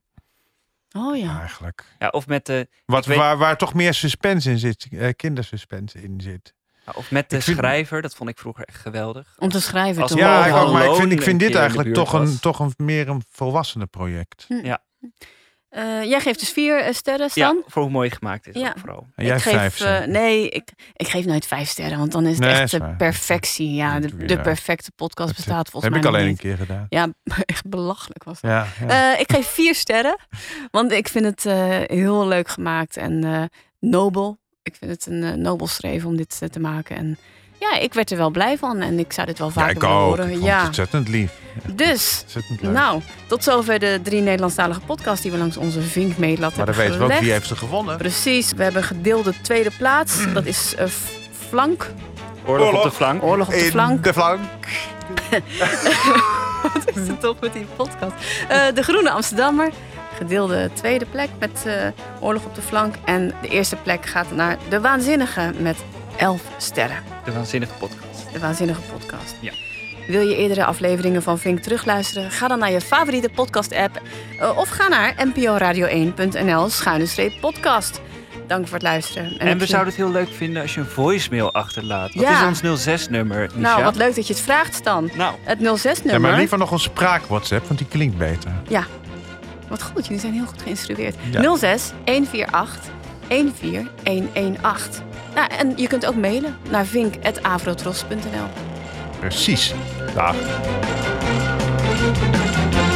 Oh ja.
Eigenlijk.
Ja, of met de,
Wat,
ik weet-
waar, waar toch meer suspense in zit, eh, kindersuspense in zit.
ja, of met de
Ik vind-
schrijver, dat vond ik vroeger echt geweldig.
Om te schrijven.
Als
te
we
Ja,
mogen.
ik, ook, maar ik
Alone
vind, ik
een
vind
keer in
dit
de
eigenlijk
buurt
toch een,
was.
toch een meer een volwassenenproject.
Ja,
Eh, jij geeft dus vier eh, sterren, Stan?
ja, voor hoe mooi gemaakt is
Ja.
ook vooral.
En jij
ik geef,
vijf
eh,
sterren.
nee, ik, ik geef nooit vijf sterren, want dan is het
Nee,
echt
is
de
waar.
perfectie. Ja, de, de
Ja.
perfecte podcast
Dat
bestaat volgens
heb
mij
ik alleen
nog
een keer gedaan.
niet. Ja, echt belachelijk was dat.
Ja, ja.
Eh, ik geef vier sterren, want ik vind het eh, heel leuk gemaakt en eh, nobel. Ik vind het een eh, nobel streven om dit eh, te maken. En ja, ik werd er wel blij van en ik zou dit wel
Ja,
vaker
ik
willen
ook.
horen.
Ik vond het
ja.
ontzettend lief.
Dus,
Ontzettend leuk.
nou, tot zover de drie Nederlandstalige podcasts die we langs onze vinkmeetlat
maar
hebben
dan weten we ook wie
gelegd.
heeft ze gewonnen.
Precies, we hebben gedeelde tweede plaats. Dat is eh, f- flank.
Oorlog, op de flank.
Oorlog op de
In
flank.
de flank.
Wat is het toch met die podcast? Eh, de Groene Amsterdammer. Gedeelde tweede plek met eh, Oorlog op de flank. En de eerste plek gaat naar De Waanzinnige met elf sterren.
De waanzinnige podcast.
De Waanzinnige podcast.
Ja.
Wil je eerdere afleveringen van Vink terugluisteren? Ga dan naar je favoriete podcast-app eh, of ga naar nporadio1.nl schuine streep podcast. Dank voor het luisteren.
En,
heb
we
je-
zouden het heel leuk vinden als je een voicemail achterlaat. Wat
Ja.
is ons 06-nummer,
Nou, wat leuk dat je het vraagt dan.
Nou.
Het
Ja,
06-nummer.
maar liever nog een spraak-WhatsApp, want die klinkt beter.
Ja. Wat goed, jullie zijn heel goed geïnstrueerd.
Ja.
06 148 14118. Nou, en je kunt ook mailen naar vink.avrotros.nl.
Precies. Dag.
Thank you.